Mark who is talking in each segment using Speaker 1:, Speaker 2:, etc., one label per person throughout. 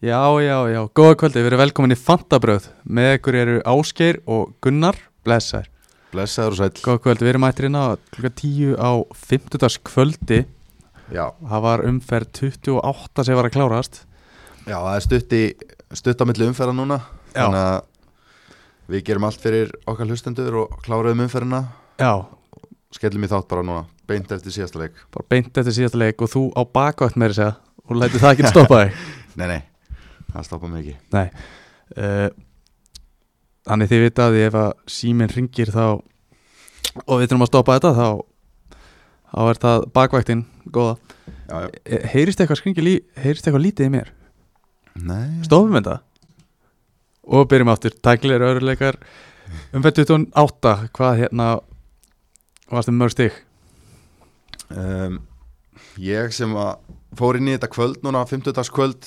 Speaker 1: Já, já, já, góða kvöldi, við erum velkomin í Fantabröð með ykkur eru Ásgeir og Gunnar Blessaður,
Speaker 2: Blessaður og sæll
Speaker 1: góða kvöldi, við erum mættir inn á klukka 10 á 50. kvöldi
Speaker 2: já,
Speaker 1: það var umferð 28 sem var að klárast
Speaker 2: já, það er stutt, í, stutt á milli umferða núna
Speaker 1: Já.
Speaker 2: Þannig að við gerum allt fyrir okkar hlustendur og kláruðum umferðina
Speaker 1: Já,
Speaker 2: Skellum í þátt bara núna, beint eftir síðasta leik
Speaker 1: bara beint eftir síðasta leik og þú á bakvætt með þess að og lætið það ekki stoppa þig
Speaker 2: Nei, nei, það stoppa mig ekki
Speaker 1: Nei uh, Þannig þið vitað ef að síminn ringir þá og við þurfum að stoppa þetta þá, þá er það bakvættin góða
Speaker 2: já, já.
Speaker 1: Eh, heyrist eitthvað skringil í, heyrist eitthvað lítið í mér
Speaker 2: Nei,
Speaker 1: stofum þetta og byrjum aftur, tæklir öruleikar um 28, hvað hérna varstu með mörg stig
Speaker 2: um, Ég sem að fór inn í þetta kvöld núna, 50. kvöld,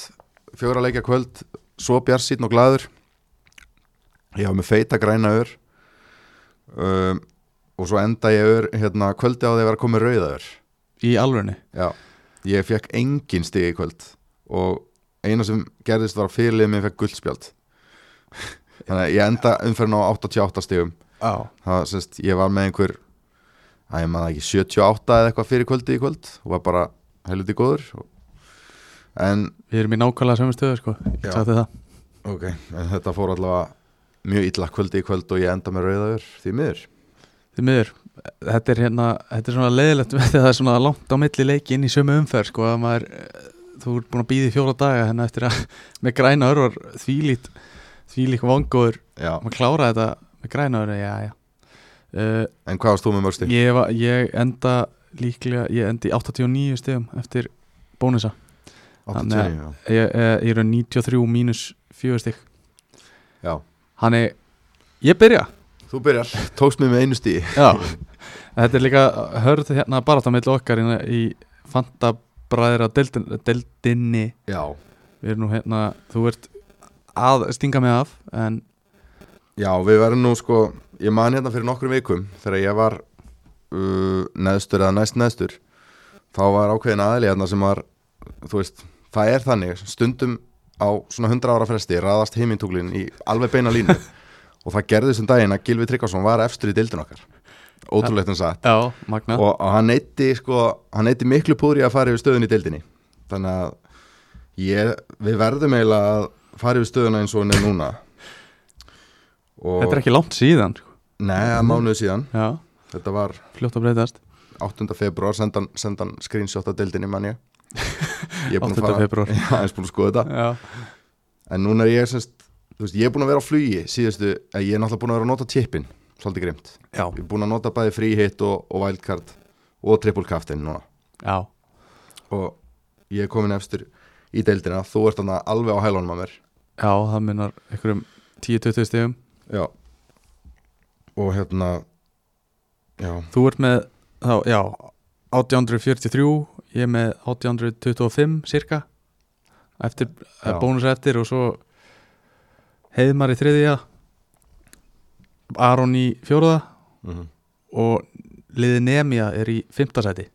Speaker 2: fjóra leikja kvöld Svo bjarsýtn og glaður Ég hafa með feita græna ör um, Og svo enda ég ör, hérna, kvöldi á því að vera komið rauða ör
Speaker 1: í alvörni
Speaker 2: Já, ég fekk engin stig í kvöld og eina sem gerðist var að fyrirlið minn fekk guldspjald þannig að ég enda umferðin á 88 stigum
Speaker 1: á.
Speaker 2: það sést, ég var með einhver að ég maður ekki 78 eða eitthvað fyrir kvöldi í kvöld og var bara helviti góður og- en,
Speaker 1: við erum í nákvæmlega sömu stöðu sko Ég
Speaker 2: Já.
Speaker 1: sagði þér það.
Speaker 2: okay. en þetta fór allavega mjög illa kvöldi í kvöld og ég enda með rauðaður því miður
Speaker 1: því miður, þetta er hérna þetta er svona leiðilegt með því að það er svona langt á milli leiki inn í sömu umferð sko að maður, eh, þú ert búin að býða í fjóra daga hérna eftir að með græna örvar þvílít, þvílík vangóður
Speaker 2: Já.
Speaker 1: maður klára þetta með græna örvar, já já uh,
Speaker 2: en hvað varst þú með mörg stig?
Speaker 1: Ég, var, ég enda líklega, ég endi í 89 stegum eftir bónusa.
Speaker 2: 89, já.
Speaker 1: Ég, eh, ég, ég er 93 mínus 4 steg.
Speaker 2: já
Speaker 1: Þannig, ég byrja.
Speaker 2: Þú byrjar, tókst mig með einu stíi
Speaker 1: Já. Þetta er líka hörð hérna bara það meðl okkar hérna í Fanta bræðra deildin, deildinni.
Speaker 2: Já,
Speaker 1: Við erum nú hérna, þú ert að stinga mig af, en
Speaker 2: Já, við verðum nú sko, ég man hérna fyrir nokkrum vikum þegar ég var uh, neðstur eða næst neðstur þá var ákveðin aðli hérna sem var þú veist, það er þannig stundum á svona 100 ára fresti raðast heimintúklin í alveg beina línu og það gerði þessum daginn að Gilvi Tryggvason var efstur í dildin okkar ótrúlegt en satt
Speaker 1: já, magna.
Speaker 2: og, og hann eitti sko, hann eitti miklu púri að fara yfir stöðun í dildinni þannig að ég, við verðum eiginlega að fara yfir stöðuna eins og hann er núna og
Speaker 1: Þetta er ekki langt síðan. sko.
Speaker 2: Nei, það er mánuðu síðan
Speaker 1: Já,
Speaker 2: Þetta var
Speaker 1: fljótt að breytast. 8.
Speaker 2: 8. februar sendan, sendan screenshot að deildinni mann ég Ég er búin
Speaker 1: 8.
Speaker 2: að fara
Speaker 1: februar.
Speaker 2: Ég er búin að skoða þetta
Speaker 1: Já,
Speaker 2: En núna er ég semst Þú veist, ég er búin að vera á flugi síðustu eh, Ég er náttúrulega búin að vera að nota tippin Svolítið grimt
Speaker 1: já,
Speaker 2: Ég er búin að nota bæði fríhitt og, og wildcard Og triple captain núna
Speaker 1: já.
Speaker 2: Og ég er komin efstur í deildina Þú ert þannig alveg á hælunum að mér
Speaker 1: Já, það munar einhverjum 10-20 stegum.
Speaker 2: Já Og hérna Já,
Speaker 1: Þú ert með, þá, já, 1843, ég með 1825 cirka, eftir,
Speaker 2: Já.
Speaker 1: bónus eftir og svo Heiðmar í þriðja, Aron í fjóruða og liði Nemia er í fymtasæti.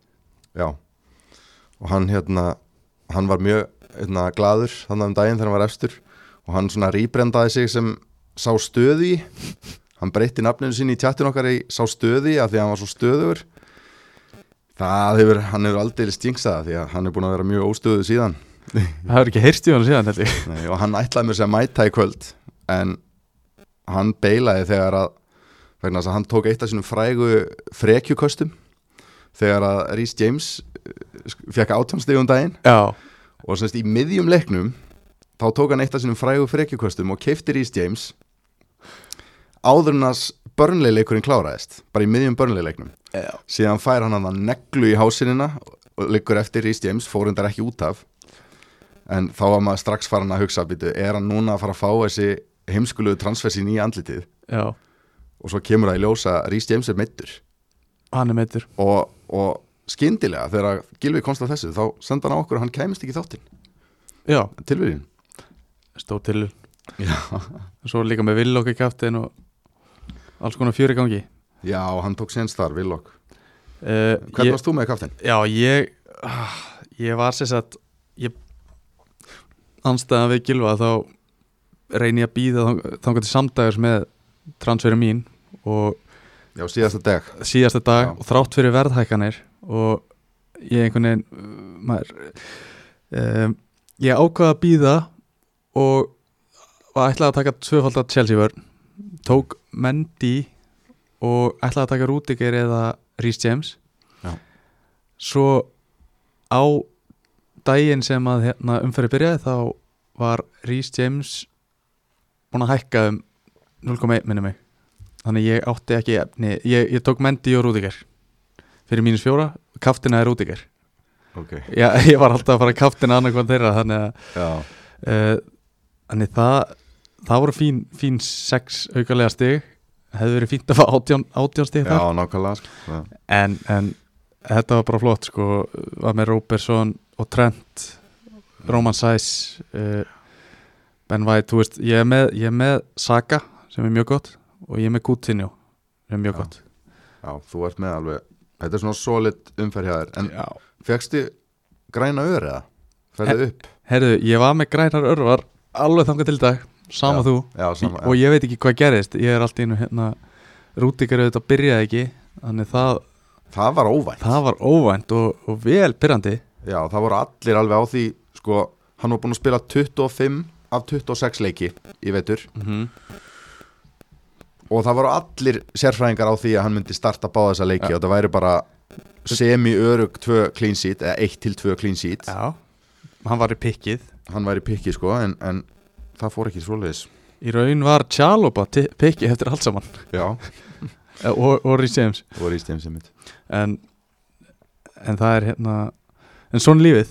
Speaker 2: Já og hann hérna hann var mjög hérna, gladur þannig um daginn þegar hann var efstur og hann svona rýbrendaði sig sem sá stöði í. hann breytti nafninu sín í tjattin okkar í sá stöði í af því að hann var svo stöður það hefur, hann hefur aldrei stingsaða því að hann er búin að vera mjög óstöðu síðan
Speaker 1: Það hefur ekki heyrst í hann síðan, held ég.
Speaker 2: Nei, og hann ætlaði mér sér að mæta í kvöld en hann beilaði þegar að vegna þess að hann tók eitt af sínum frægu frekjuköstum þegar að Rhys James eh, fekk átjámstegum um daginn
Speaker 1: Já,
Speaker 2: og semst í miðjum leiknum þá tók hann eitt af sínum frægu frekjuköstum og keifti Rhys James áður en að börnleileikurinn kláraðist bara í miðjum börnleileiknum
Speaker 1: já,
Speaker 2: síðan fær hann hann neglu í hásinina og liggur eftir Rhys James, fórundar ekki út af en þá var maður strax farin að hugsa býtu, er hann núna að fara að fá þessi heimskuluðu transfersin í andlitið
Speaker 1: já,
Speaker 2: og svo kemur það í ljós að Rhys James er meittur
Speaker 1: hann er meittur.
Speaker 2: og, og skyndilega þegar Gilvi komst að þessu þá senda hann á okkur að hann kæmist ekki í þáttinn
Speaker 1: Já,
Speaker 2: tilvíðin
Speaker 1: stóð til.
Speaker 2: já.
Speaker 1: Svo líka með vill okkur kæftin og alls konar fjöri gangi.
Speaker 2: já, og hann tók síðan starf, Villok
Speaker 1: Uh,
Speaker 2: hvernig varst þú með kaftin?
Speaker 1: Já, ég ah, ég var sér satt ég, anstæðan við gilva þá reyni ég að býða þangar til samdægurs með transferum mín og
Speaker 2: Já, síðasta deg
Speaker 1: síðasta dag
Speaker 2: Já.
Speaker 1: og þrátt fyrir verðhækkanir og ég einhvern veginn uh, maður, um, ég ákvaða að býða og var ætlaði að taka tvöfald að Chelsea vörn tók Mendy og ætlaði að taka Rudiger eða Rhys James
Speaker 2: Já.
Speaker 1: svo á daginn sem að hérna, umferði byrjaði þá var Rhys James búin að hækka um 0,1 minni mig þannig ég átti ekki efni ég, ég tók Mendy og Rúdiger fyrir mínus fjóra, kaftina er Rúdiger
Speaker 2: Ok
Speaker 1: ég, ég var alltaf að fara að kaftina annarkvæm þeirra þannig að
Speaker 2: Já,
Speaker 1: uh, þannig það það voru fín, fín sex aukalega stig hefði verið fínt að fá átján, átján stig
Speaker 2: já
Speaker 1: þar
Speaker 2: nákvæmlega sko. Já.
Speaker 1: en, en þetta var bara flott sko, var með Róbersson og Trent Roman Sæs uh, Ben White, þú veist ég er, með, ég er með Saga sem er mjög gott og ég er með Coutinho sem er mjög
Speaker 2: Já.
Speaker 1: gott
Speaker 2: já, þú ert með alveg Þetta er svona solid umferð hjá þér En
Speaker 1: Já.
Speaker 2: fegstu græna öður eða?
Speaker 1: Eh,
Speaker 2: Ferðu upp?
Speaker 1: Herðu, ég var með grænar örvar alveg þangað til í dag, sama þú
Speaker 2: Já, sama
Speaker 1: og ég veit ekki hvað gerist, ég er allt í einu hérna, rútikar auðvitað byrjaði ekki þannig það,
Speaker 2: Það var óvænt
Speaker 1: það var óvænt og, og vel byrjandi
Speaker 2: Já, það voru allir alveg á því Sko, hann var búin að spila 25 af 26 leiki í vetur
Speaker 1: mm -hmm.
Speaker 2: og það voru allir sérfræðingar á því að hann myndi starta báða þessa leiki og það væri bara semi-örug tvö clean sheet eða 1 til 2 clean sheet
Speaker 1: Já, hann var í pikkið
Speaker 2: hann væri pikki sko en, en það fór ekki svoleiðis
Speaker 1: í raun var Tjálópa pikkið eftir allt saman
Speaker 2: já,
Speaker 1: Eh, og, og Rhys James
Speaker 2: það voru í stegum sem mitt
Speaker 1: en, en það er hérna en svona lífið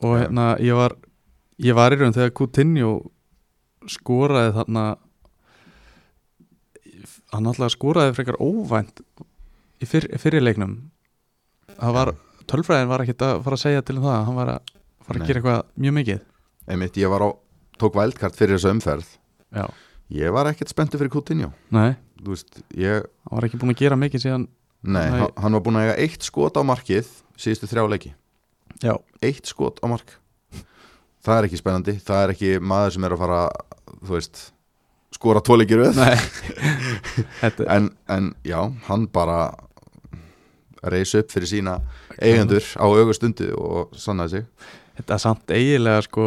Speaker 1: og
Speaker 2: Já.
Speaker 1: hérna ég var ég var í raun þegar Coutinho skoraði þarna hann alltaf skoraði frekar óvænt í fyr, fyrirleiknum það var, tölfræðin var ekkert að fara að segja til um það, hann var að fara
Speaker 2: Nei.
Speaker 1: að gera eitthvað mjög mikið
Speaker 2: einmitt ég var á, tók vældkart fyrir þessa umferð
Speaker 1: já,
Speaker 2: ég var ekkert spenntu fyrir Coutinho
Speaker 1: nei,
Speaker 2: þú veist, ég,
Speaker 1: hann var ekki búin að gera mikið síðan
Speaker 2: nei,
Speaker 1: Nei.
Speaker 2: hann- hann var búin að eiga eitt skot á markið síðustu þrjá leiki
Speaker 1: já,
Speaker 2: eitt skot á mark það er ekki spennandi, það er ekki maður sem er að fara, þú veist skora tóleikir við
Speaker 1: nei þetta,
Speaker 2: en, en já, hann bara reysi upp fyrir sína eigendur á augustundu og sannaði sig
Speaker 1: Þetta er samt eiginlega sko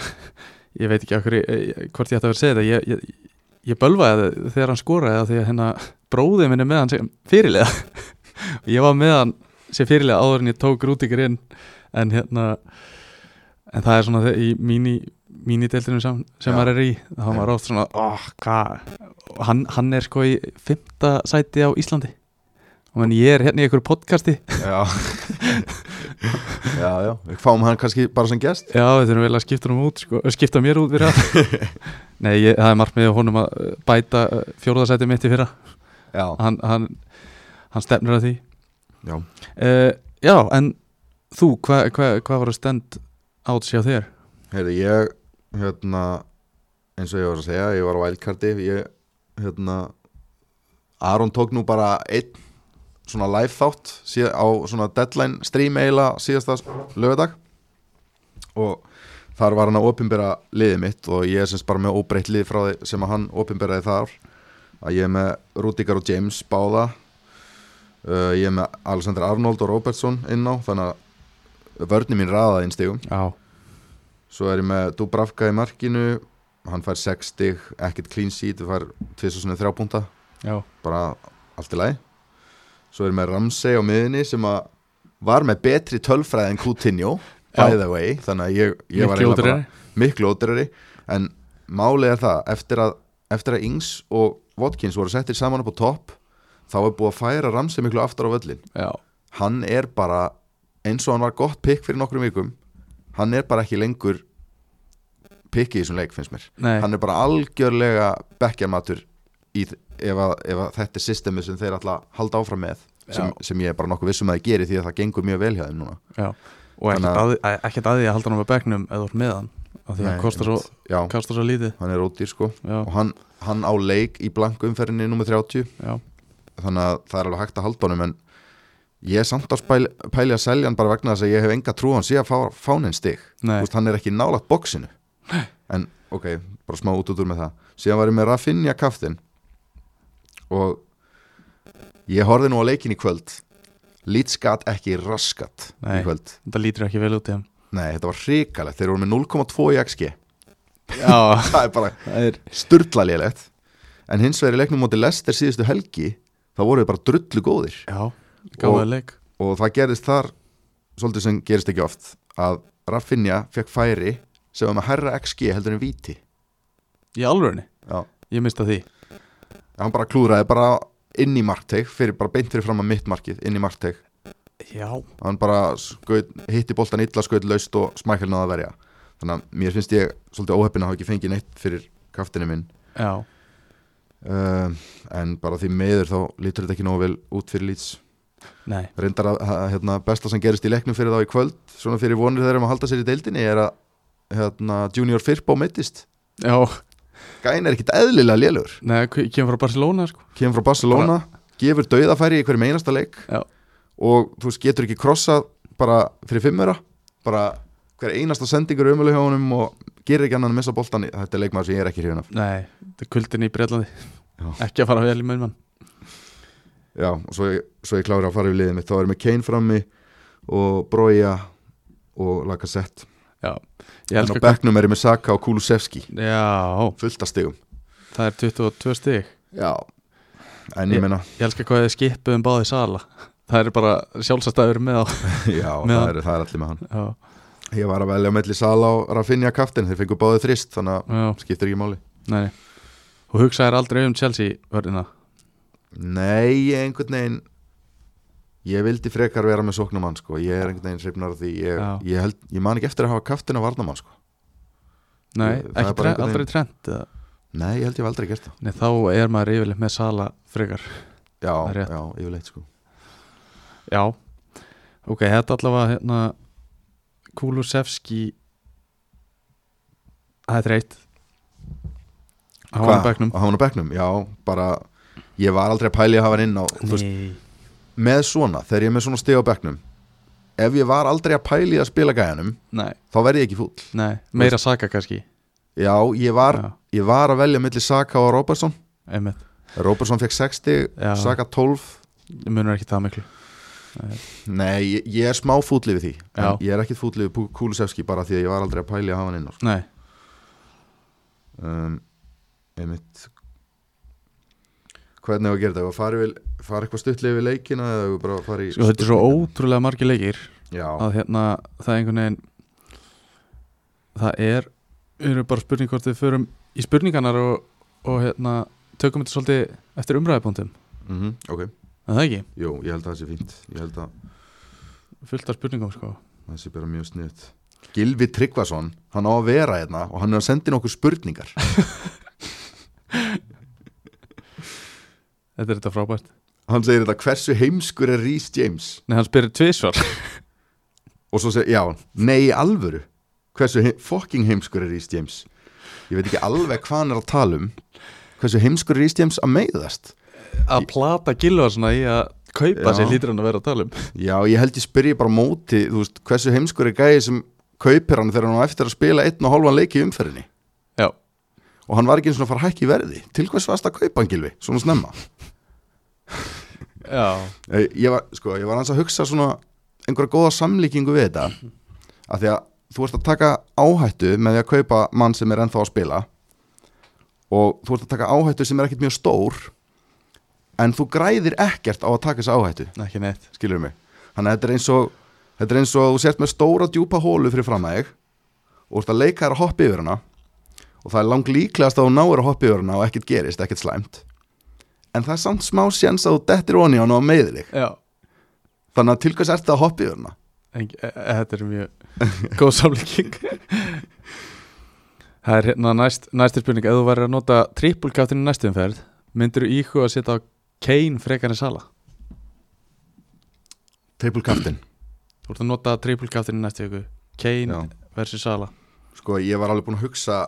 Speaker 1: ég veit ekki okkur, eh, hvort ég ætti að vera að segja þetta ég, ég, ég bölvaði það þegar hann skoraði það því að hérna bróðið minni með hann sem fyrirlega og ég var með hann sem fyrirlega áður en ég tók rútíkur inn en hérna en það er svona þe- í míní mínideldinu sem, sem
Speaker 2: Já.
Speaker 1: maður er í þá var maður oft svona, oh, hvað Og hann, hann er sko í fymta sæti á Íslandi og menn ég er hérna í einhverju podcasti
Speaker 2: Já Já, já, við fáum hann kannski bara sem gest
Speaker 1: Já, við þurfum vel að skipta honum út sko, skipta mér út fyrir það Nei, ég, það er markmið honum að uh, bæta fjórðarsæti mitt í fyrra
Speaker 2: Já,
Speaker 1: hann, hann, hann stefnir að því
Speaker 2: já.
Speaker 1: uh, Já, en þú, hvað hva, hva var að stend át sér þér?
Speaker 2: Heyrðu, ég hérna, eins og ég var að segja ég var á wildcardi ég hérna Aron tók nú bara einn svona live þátt síð, á svona deadline stream eiginlega síðasta lögadag og þar var hann að opinbera liðið mitt og ég er semst bara með óbreytt lið frá því sem að hann opinberaði þar að ég er með Rudiger og James báða uh, ég er með Alexander Arnold og Robertson inn á þannig að vörni mín raðaði inn stigum
Speaker 1: Já,
Speaker 2: Svo er ég með Dubravka í markinu Hann fær 6 stig, ekkert clean sheet Það fær 2003 púnta
Speaker 1: já,
Speaker 2: Bara allt í lagi Svo er ég með Ramsey á miðinni sem að Var með betri tölfræði en Coutinho By
Speaker 1: Já.
Speaker 2: the way Þannig að ég, ég var
Speaker 1: Miklu
Speaker 2: eiginlega bara-
Speaker 1: ódýrari.
Speaker 2: Miklu ódreiri En málið er það Eftir að, eftir að Ings og Watkins voru settir saman upp á topp Þá er búið að færa Ramsey miklu aftur á völlin
Speaker 1: já,
Speaker 2: hann er bara eins og hann var gott pikk fyrir nokkrum vikum hann er bara ekki lengur pikki í þessum leik finnst mér
Speaker 1: nei
Speaker 2: hann er bara algjörlega bekkjarmatur í, þ- ef, að, ef að þetta er systemið sem þeir alltaf halda áfram með sem,
Speaker 1: Já.
Speaker 2: sem ég er bara nokkuð vissum að það geri því að það gengur mjög vel hjá þeim núna
Speaker 1: já. Og ekkert
Speaker 2: Þannig að-
Speaker 1: að, að, e, ekkert að því að halda hann með bekknum eða þú ert með hann af því að
Speaker 2: Nei,
Speaker 1: hann kostar svo,
Speaker 2: já,
Speaker 1: kostar svo lítið
Speaker 2: hann er ódýr sko
Speaker 1: Já,
Speaker 2: og hann, hann á leik í blankumferðinni nummer 30
Speaker 1: já,
Speaker 2: þannig að það er alveg hægt að halda honum en ég er samt að spæl- pæli að selja hann bara vegna þess að ég hef enga trú á hann síðan fá, fáninn stig
Speaker 1: nei,
Speaker 2: Þú veist, hann er ekki nálaðt bóksinu en ok, bara smá út út úr með það síðan var ég með Rafinha kaftin og ég horfði nú á leikin í kvöld Leeds gat ekki raskat
Speaker 1: Nei.
Speaker 2: í kvöld
Speaker 1: Þetta lítur ekki vel út í hann
Speaker 2: nei, þetta var hrikalegt, þeir voru með 0,2 í XG
Speaker 1: Já,
Speaker 2: það er bara
Speaker 1: það er
Speaker 2: sturla lélegt en hins vegar í leiknum móti Lester síðustu helgi þá voru við bara drullu góðir
Speaker 1: Já, gáðið leik
Speaker 2: og það gerist þar svolítið sem gerist ekki oft að Rafinha fekk færi sem var með herra XG heldur en viti
Speaker 1: Í alvörni,
Speaker 2: Já.
Speaker 1: ég mista því
Speaker 2: hann bara klúraði bara inn í markteg fyrir bara beint fyrir fram að mitt markið inn í markteg
Speaker 1: Já,
Speaker 2: hann bara skaut, hitti boltan illa skaut laust og smækkel náða að verja þannig að mér finnst ég svolítið óheppin að hafa ekki fengið neitt fyrir kaftinu minn
Speaker 1: já,
Speaker 2: um, en bara því meður þá lítur þetta ekki nógu vel út fyrir lýts
Speaker 1: nei
Speaker 2: reyndar að, að hérna, besta sem gerist í leiknum fyrir þá í kvöld svona fyrir vonir þeirra um að halda sér í deildinni er að hérna, Junior Firpo meittist
Speaker 1: Já,
Speaker 2: gæn er ekkit eðlilega lélugur
Speaker 1: nei, k- kemur frá Barcelona sko
Speaker 2: kemur frá Barcelona, gefur dauðafæri í hverjum einasta leik
Speaker 1: Já.
Speaker 2: og þú veist, getur ekki krossað bara fyrir fimmura bara hver einasta sendingur umölu hjá honum og gerir ekki annan að missa boltan í- þetta er leikmaður sem ég er ekki hrifin af
Speaker 1: Nei, þetta er kuldin í Breitlandi
Speaker 2: Já.
Speaker 1: Ekki að fara vel í munmann
Speaker 2: Já, og svo, ég- svo ég klára að fara við liðið mitt þá erum við Kane frammi og Broja og Lacazette
Speaker 1: Já, ég
Speaker 2: en á
Speaker 1: elska
Speaker 2: bekknum er ég með Saka og Kulusevski
Speaker 1: Já,
Speaker 2: fullt af stigum
Speaker 1: það er 22 stig
Speaker 2: Já, en ég
Speaker 1: Ég-
Speaker 2: meina
Speaker 1: Ég elska hvað þið skipuð um báði sala Það er bara sjálfsastæður með á
Speaker 2: Já,
Speaker 1: Með
Speaker 2: það
Speaker 1: hann.
Speaker 2: er, það er allir með hann
Speaker 1: Já,
Speaker 2: Ég var að velja á melli Sala og Rafinha kaftin Þeir fengu báðið þrist, þannig
Speaker 1: já,
Speaker 2: að skiptir ekki máli
Speaker 1: nei nei. Og hugsaðir aldrei um Chelsea vörðina
Speaker 2: Nei, ég einhvern veginn Ég vildi frekar vera með sóknumann sko. Ég er einhvern veginn hrifnar því ég,
Speaker 1: Já.
Speaker 2: ég, held, ég man ekki eftir að hafa kaftin á varnamann sko.
Speaker 1: Nei,
Speaker 2: Ég- það er
Speaker 1: ekki
Speaker 2: bara
Speaker 1: tre,
Speaker 2: einhvern
Speaker 1: aldrei trend eða?
Speaker 2: Nei, ég held ég hef aldrei gert það
Speaker 1: Nei, þá er maður yfirleitt með sala frekar
Speaker 2: Já,
Speaker 1: Það er rétt.
Speaker 2: já, yfirleitt sko.
Speaker 1: Já, ok, þetta allavega hérna Kulusevski Það er þreytt Há hann á bekknum
Speaker 2: Hána bekknum, já, bara Ég var aldrei að pæli að hafa hann inn á þú veist,
Speaker 1: Nei,
Speaker 2: Með svona, þegar ég er með svona stig á bekknum Ef ég var aldrei að pæli að spila gæjanum
Speaker 1: nei,
Speaker 2: Þá verði ég ekki fúll
Speaker 1: nei, meira saka kannski
Speaker 2: Já, ég var,
Speaker 1: Já,
Speaker 2: ég var að velja milli Saka og Robertson
Speaker 1: einmitt,
Speaker 2: Robertson fekk 60,
Speaker 1: Já.
Speaker 2: Saka 12
Speaker 1: ég munur ekki það miklu
Speaker 2: Nei, ég, ég er smá fútlið við því
Speaker 1: Já.
Speaker 2: en ég er ekkit fútlið við Pú- Kulusevski bara því að ég var aldrei að pæli að hafa hann inn á, sko.
Speaker 1: Nei,
Speaker 2: um, einmitt Hvernig hefur að gera þetta? Eigum við að Fara, við, fara eitthvað stuttlið við leikina eða eigum við bara að fara í
Speaker 1: sko þetta er svo ótrúlega margir leikir
Speaker 2: Já,
Speaker 1: að hérna það er einhvern veginn það er eru bara spurning hvort við förum í spurningarnar og, og hérna tökum þetta svolítið eftir umræðupóntum
Speaker 2: mm ok,
Speaker 1: en það ekki,
Speaker 2: jú, ég held að það sé fínt Ég held að
Speaker 1: fullt af spurningum sko
Speaker 2: það sé bara mjög sniðt Gilvi Tryggvason, hann á að vera hérna og hann er að senda inn okkur spurningar
Speaker 1: þetta er þetta frábært
Speaker 2: Hann segir þetta, hversu heimskur er Rhys James?
Speaker 1: Nei, hann spyrir tvisvar
Speaker 2: Og svo segir, já, nei í alvöru Hversu heim, fucking heimskur er Rhys James Ég veit ekki alveg hvað hann er að tala um Hversu heimskur er Rhys James að meiðast
Speaker 1: að plata gilva svona í að kaupa
Speaker 2: Já.
Speaker 1: sér lítur hann að vera að tala um
Speaker 2: Já, ég held ég spyrji bara á móti Þú veist, hversu heimskur er gæði sem kaupir hann Þegar hann á eftir að spila einn og hálfan leik í umferðinni
Speaker 1: Já,
Speaker 2: Og hann var ekki eins og að fara að hækka í verði Til hvers varst að kaupa hann gilvi, svona snemma
Speaker 1: já,
Speaker 2: Ég ég var, sko, ég var hans að hugsa svona einhverja góða samlíkingu við þetta af því að þú ert að taka áhættu með því að kaupa mann sem er ennþá að spila og þú ert að taka áhættu sem er ekkert mjög stór en þú græðir ekkert á að taka þessa áhættu,
Speaker 1: ekki neitt
Speaker 2: skilur mig þannig að þetta er eins og þetta er eins og þú sért með stóra djúpa hólu fyrir fram að þig og ert að leika þér að hoppa yfir hana og það er lang líklegast að þú náir að hoppa yfir hana og ekkert gerist, ekkert slæmt en það er samt smá séns að þú dettir onni á hana og meiðir þig
Speaker 1: Já,
Speaker 2: Þannig að til hvers ertu að hoppa hérna? yfir hana?
Speaker 1: en, e, e, þetta er mjög góð samlíking Það er hérna næst, næstir spurning ef þú væri að nota trippulkáttin í næstum ferð myndir þú íhuga að setja á Kane frekar en Sala
Speaker 2: Triple captain
Speaker 1: Þú ert að nota trippulkáttin í næstu viku Kane
Speaker 2: Já.
Speaker 1: versus Sala
Speaker 2: Sko ég var alveg búin að hugsa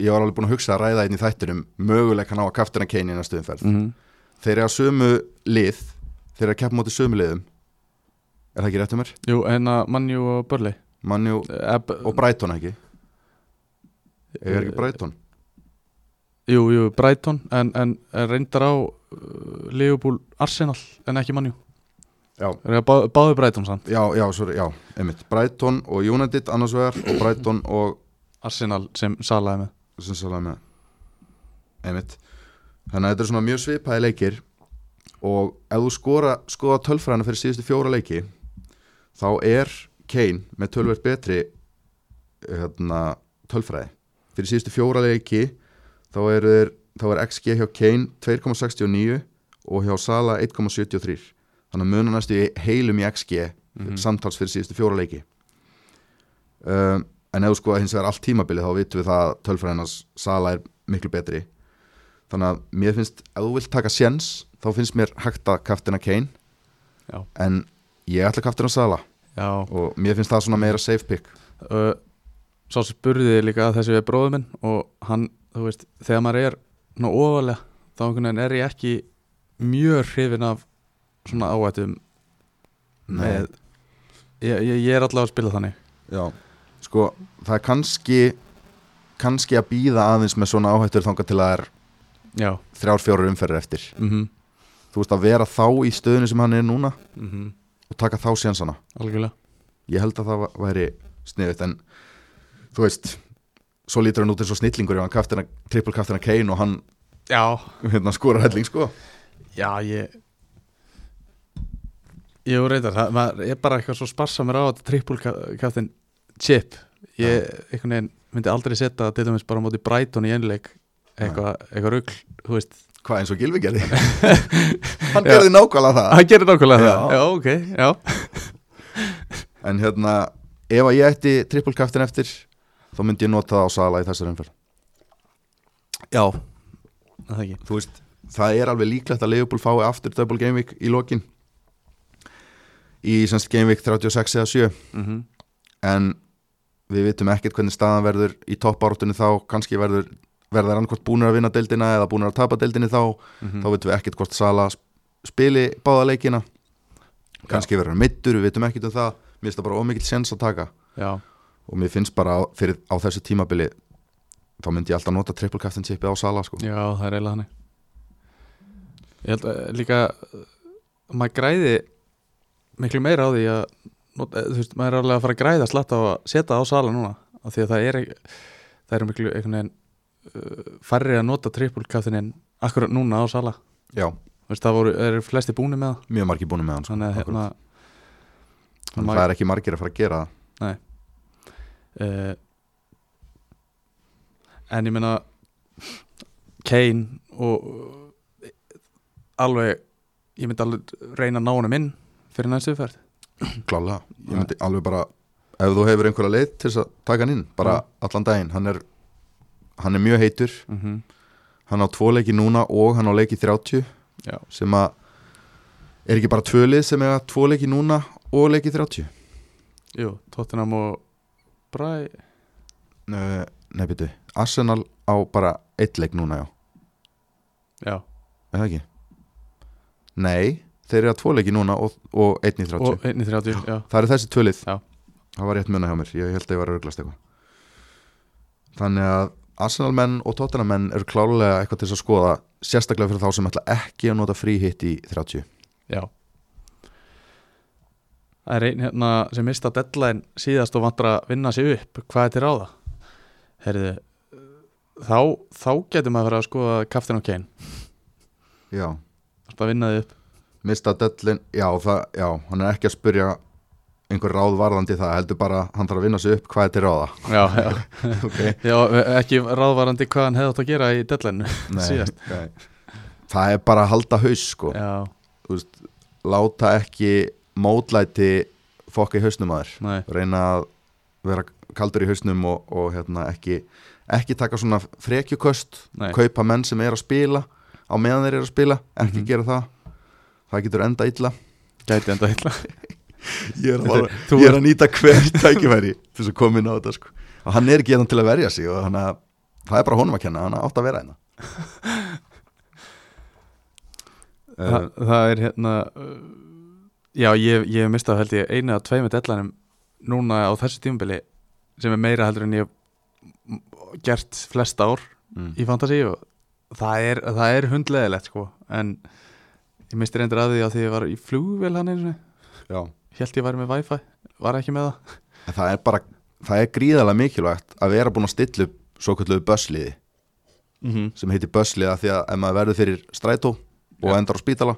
Speaker 2: Ég var alveg búin að hugsa að ræða einn í þættinum Möguleika ná að captaina Kane í næstu umferð
Speaker 1: mm -hmm.
Speaker 2: Þeir eru að sömu lið Þeir eru að keppa móti sömu liðum Er það ekki rétt um mér?
Speaker 1: Jú, en að Manju og Börli
Speaker 2: Manju
Speaker 1: Eb,
Speaker 2: og Brighton ekki Ég er ekki Brighton
Speaker 1: Jú, jú, Brighton en, en, en reyndar á uh, Leopold Arsenal en ekki Manjú
Speaker 2: Já,
Speaker 1: bá, Báðu Brighton samt
Speaker 2: já, já, sorry, já, einmitt Brighton og United annars vegar og Brighton og
Speaker 1: Arsenal sem salaði með
Speaker 2: sem sæla með einmitt þannig að þetta er svona mjög svipaði leikir og ef þú skora, skoða tölfræðina fyrir síðustu fjóra leiki þá er Kane með tölvert betri hérna, tölfræði fyrir síðustu fjóra leiki þá er, þá er XG hjá Kane 2,69 og hjá Sala 1,73 þannig að munar næstu í heilum í XG
Speaker 1: Mhm.
Speaker 2: samtals fyrir síðustu fjóra leiki um, en ef þú sko hins vegar allt tímabilið þá vitum við það að tölfræðinans sala er miklu betri þannig að mér finnst, ef þú vilt taka sjens þá finnst mér hægt að kaftina Kane
Speaker 1: Já.
Speaker 2: en ég ætla að kaftina sala
Speaker 1: Já,
Speaker 2: og mér finnst það svona meira safe pick
Speaker 1: uh, sá sem spurði líka að þessi við bróðum minn og hann, þú veist, þegar maður er svona ofalega, þá einhvern veginn er ég ekki mjög hrifin af svona áættum með, ég, ég, ég er allavega að spila þannig
Speaker 2: já, sko það er kannski kannski að býða aðeins með svona áhættur þangað til að það er
Speaker 1: Já,
Speaker 2: þrjár fjórar umferðir eftir
Speaker 1: mhm,
Speaker 2: þú veist að vera þá í stöðinu sem hann er núna
Speaker 1: mhm
Speaker 2: og taka þá sjensana
Speaker 1: algjörlega
Speaker 2: ég held að það va- væri sniðut en þú veist svo lítur hann út eins og snillingur ef hann kaftina, triple kaftina Kane og hann
Speaker 1: Já,
Speaker 2: hérna, skorar helling sko
Speaker 1: já, ég Jú, reyndar, það maður er bara eitthvað svo sparsa mér á þetta trippulkaftin chip ég einhvern veginn myndi aldrei setja það til dæmis bara á móti Brighton í einleik eitthvað eitthva rugl, þú veist
Speaker 2: hvað eins og Gilvi gerði hann
Speaker 1: Já.
Speaker 2: gerði nákvæmlega það
Speaker 1: Það gerir nákvæmlega
Speaker 2: Já.
Speaker 1: það, já, ok, já
Speaker 2: en hérna, ef að ég ætti triple kaftin eftir þá myndi ég nota það á sala í þessar umferð
Speaker 1: Já, það ekki
Speaker 2: þú veist, það er alveg líklegt að Leopold fái aftur double game week í lokin í semst game week 36 eða 7
Speaker 1: mm -hmm.
Speaker 2: en við vitum ekkert hvernig staðan verður í toppártunni þá, kannski verður verður annarkvort búnir að vinna deildina eða búnir að tapa deildinni þá,
Speaker 1: Mhm.
Speaker 2: þá vitum við ekkert hvort Sala sp- spili báða leikina kannski verður hann meittur, við vitum ekkert um það mér finnst það bara ómikill sens að taka
Speaker 1: Já,
Speaker 2: og mér finnst bara á, fyrir, á þessu tímabili þá myndi ég alltaf nota triple captain chipið á Sala sko.
Speaker 1: já, það er eiginlega hannig Ég held að líka uh, maður græði miklu meira á því að not- eh, þú veist, maður er alveg að fara að græða slatt á að setja það á sala núna af því að það er ekki- það er miklu einhvern veginn uh, færri að nota trippulkaftinin akkurat núna á sala
Speaker 2: já,
Speaker 1: Þú veist, það voru, eru flesti búni með það
Speaker 2: mjög margir búnir með hann sko.
Speaker 1: þannig að hérna
Speaker 2: Akkurat. Þannig að það er ekki margir að fara að gera það
Speaker 1: uh, en ég meina Kane og eh, alveg ég myndi alveg reyna að ná honum inn fyrir næstu ferð
Speaker 2: Klálega, ég
Speaker 1: Nei.
Speaker 2: myndi alveg bara ef þú hefur einhverja leið til þess að taka hann inn bara
Speaker 1: Já.
Speaker 2: allan daginn, hann er hann er mjög heitur,
Speaker 1: mm -hmm.
Speaker 2: hann á tvo leiki núna og hann á leiki 30
Speaker 1: Já.
Speaker 2: sem að er ekki bara tvö lið sem er tvo leiki núna og leiki 30
Speaker 1: Jú, Tottenham og Bræ
Speaker 2: Nei, nei byrju, Arsenal á bara eitt leik núna, já,
Speaker 1: Já,
Speaker 2: er það ekki? Nei, þeir eru að tvo leiki núna og, og einn í 30
Speaker 1: og 1.30 já.
Speaker 2: Það eru þessi tvölið
Speaker 1: Já.
Speaker 2: Það var rétt munna hjá mér, ég held að ég var að rauglast eitthvað Þannig að Arsenal menn og Tottenham menn eru klálega eitthvað til þess að skoða sérstaklega fyrir þá sem ætla ekki að nota frí hitt í 30
Speaker 1: já Það er einn hérna sem mista deadline síðast og vantar að vinna sig upp hvað er til ráða Herðu, þá, þá getur maður að fara að skoða kaftin og Kane
Speaker 2: Já,
Speaker 1: Alltaf að vinna þið upp
Speaker 2: mista dellin Já, það, já hann er ekki að spurja einhver ráð varðandi það heldur bara hann þarf að vinna sig upp hvað er til ráða
Speaker 1: Já, já
Speaker 2: okay.
Speaker 1: Já, e, ekki ráðvarandi hvað hann hefði átt að gera í dellennu síðast
Speaker 2: nei. Það er bara að halda haus sko
Speaker 1: Já,
Speaker 2: láta ekki mótlæti fokka í hausnum að þér
Speaker 1: nei,
Speaker 2: reyna að vera kaldur í hausnum og, og hérna, ekki, ekki taka svona frekjuköst
Speaker 1: nei
Speaker 2: kaupa menn sem er að spila á meðan þeir eru að spila, ekki
Speaker 1: Mhm.
Speaker 2: gera það það getur enda illa
Speaker 1: Gæti enda illa
Speaker 2: ég er,
Speaker 1: Þetta-
Speaker 2: bara,
Speaker 1: þú
Speaker 2: ég
Speaker 1: ert-
Speaker 2: er að nýta hver tækifæri til þess að koma inn á þetta sko. og hann er ekki hérna til að verja sig og hann að, það er bara honum að kenna, hann átt að vera hérna Eh,
Speaker 1: Þa, Það er hérna uh, Já, ég, ég hef mistað held ég einu að tveimu dellanum núna á þessu tímabili sem er meira heldur en ég gert flest ár
Speaker 2: mm.
Speaker 1: í fantasi og það er, það er hundleðilegt sko en ég misti reyndur að því að því ég var í flugvél hann einu sinni
Speaker 2: Já,
Speaker 1: held ég væri með wifi, var ekki með það
Speaker 2: en það er bara það er gríðalega mikilvægt að vera búin að stilla upp svo kvöldu börsliði
Speaker 1: mm -hmm.
Speaker 2: sem heitir börsliða því að ef maður verður fyrir strætó og
Speaker 1: Já.
Speaker 2: endar á spítala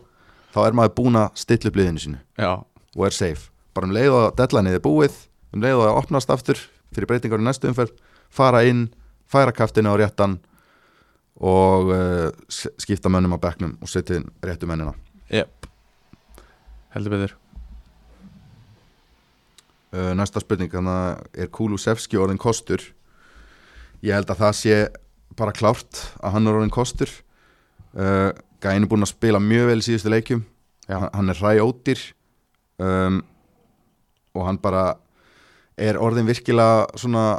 Speaker 2: þá er maður búin að stilla upp liðinu sínu
Speaker 1: Já,
Speaker 2: og er safe bara um leið og deadlineið er búið um leið og það opnast aftur fyrir breytingar í næstu umferð fara inn, færa kaftinu á réttan og uh, skipta mönnum á bekknum og setja inn réttu mennina
Speaker 1: yep. heldur betur
Speaker 2: uh, Næsta spurning, þannig að er Kulusevski orðin kostur? Ég held að það sé bara klárt að hann er orðin kostur uh, Gæin er búinn að spila mjög vel í síðustu leikjum
Speaker 1: Já.
Speaker 2: hann, hann er ræjóttir um, og hann bara er orðin virkilega svona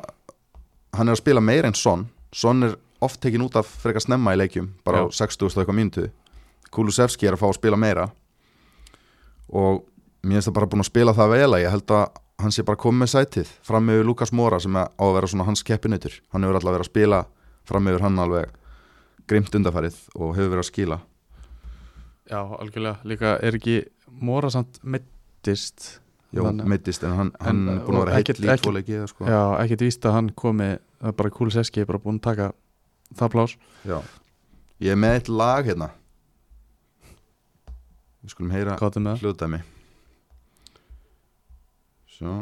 Speaker 2: hann er að spila meira en Son Son er oft tekin út af frekar snemma í leikjum bara á
Speaker 1: Já.
Speaker 2: 60 og eitthvað mínútu Kulusevski er að fá að spila meira og mér finnst það bara búin að spila það vel að ég held að hann sé bara komið með sætið fram yfir Lukas Mora sem á að vera svona hans keppinutur hann hefur alltaf verið að spila fram yfir hann alveg grimt undarfærið og hefur verið að skila
Speaker 1: Já, algjörlega, líka er ekki Móra samt mittist
Speaker 2: Jó, meittist en hann, hann
Speaker 1: En,
Speaker 2: er búin að vera
Speaker 1: og ekkert-
Speaker 2: heill í
Speaker 1: ekkert-
Speaker 2: tvo leiki eða sko.
Speaker 1: Já, ekkert víst að hann komi það er bara Kuliseski er bara búin að taka það plás
Speaker 2: Já. Ég er með eitt lag hérna Við skulum heyra
Speaker 1: Gáttum með það
Speaker 2: hljóðdæmi Svo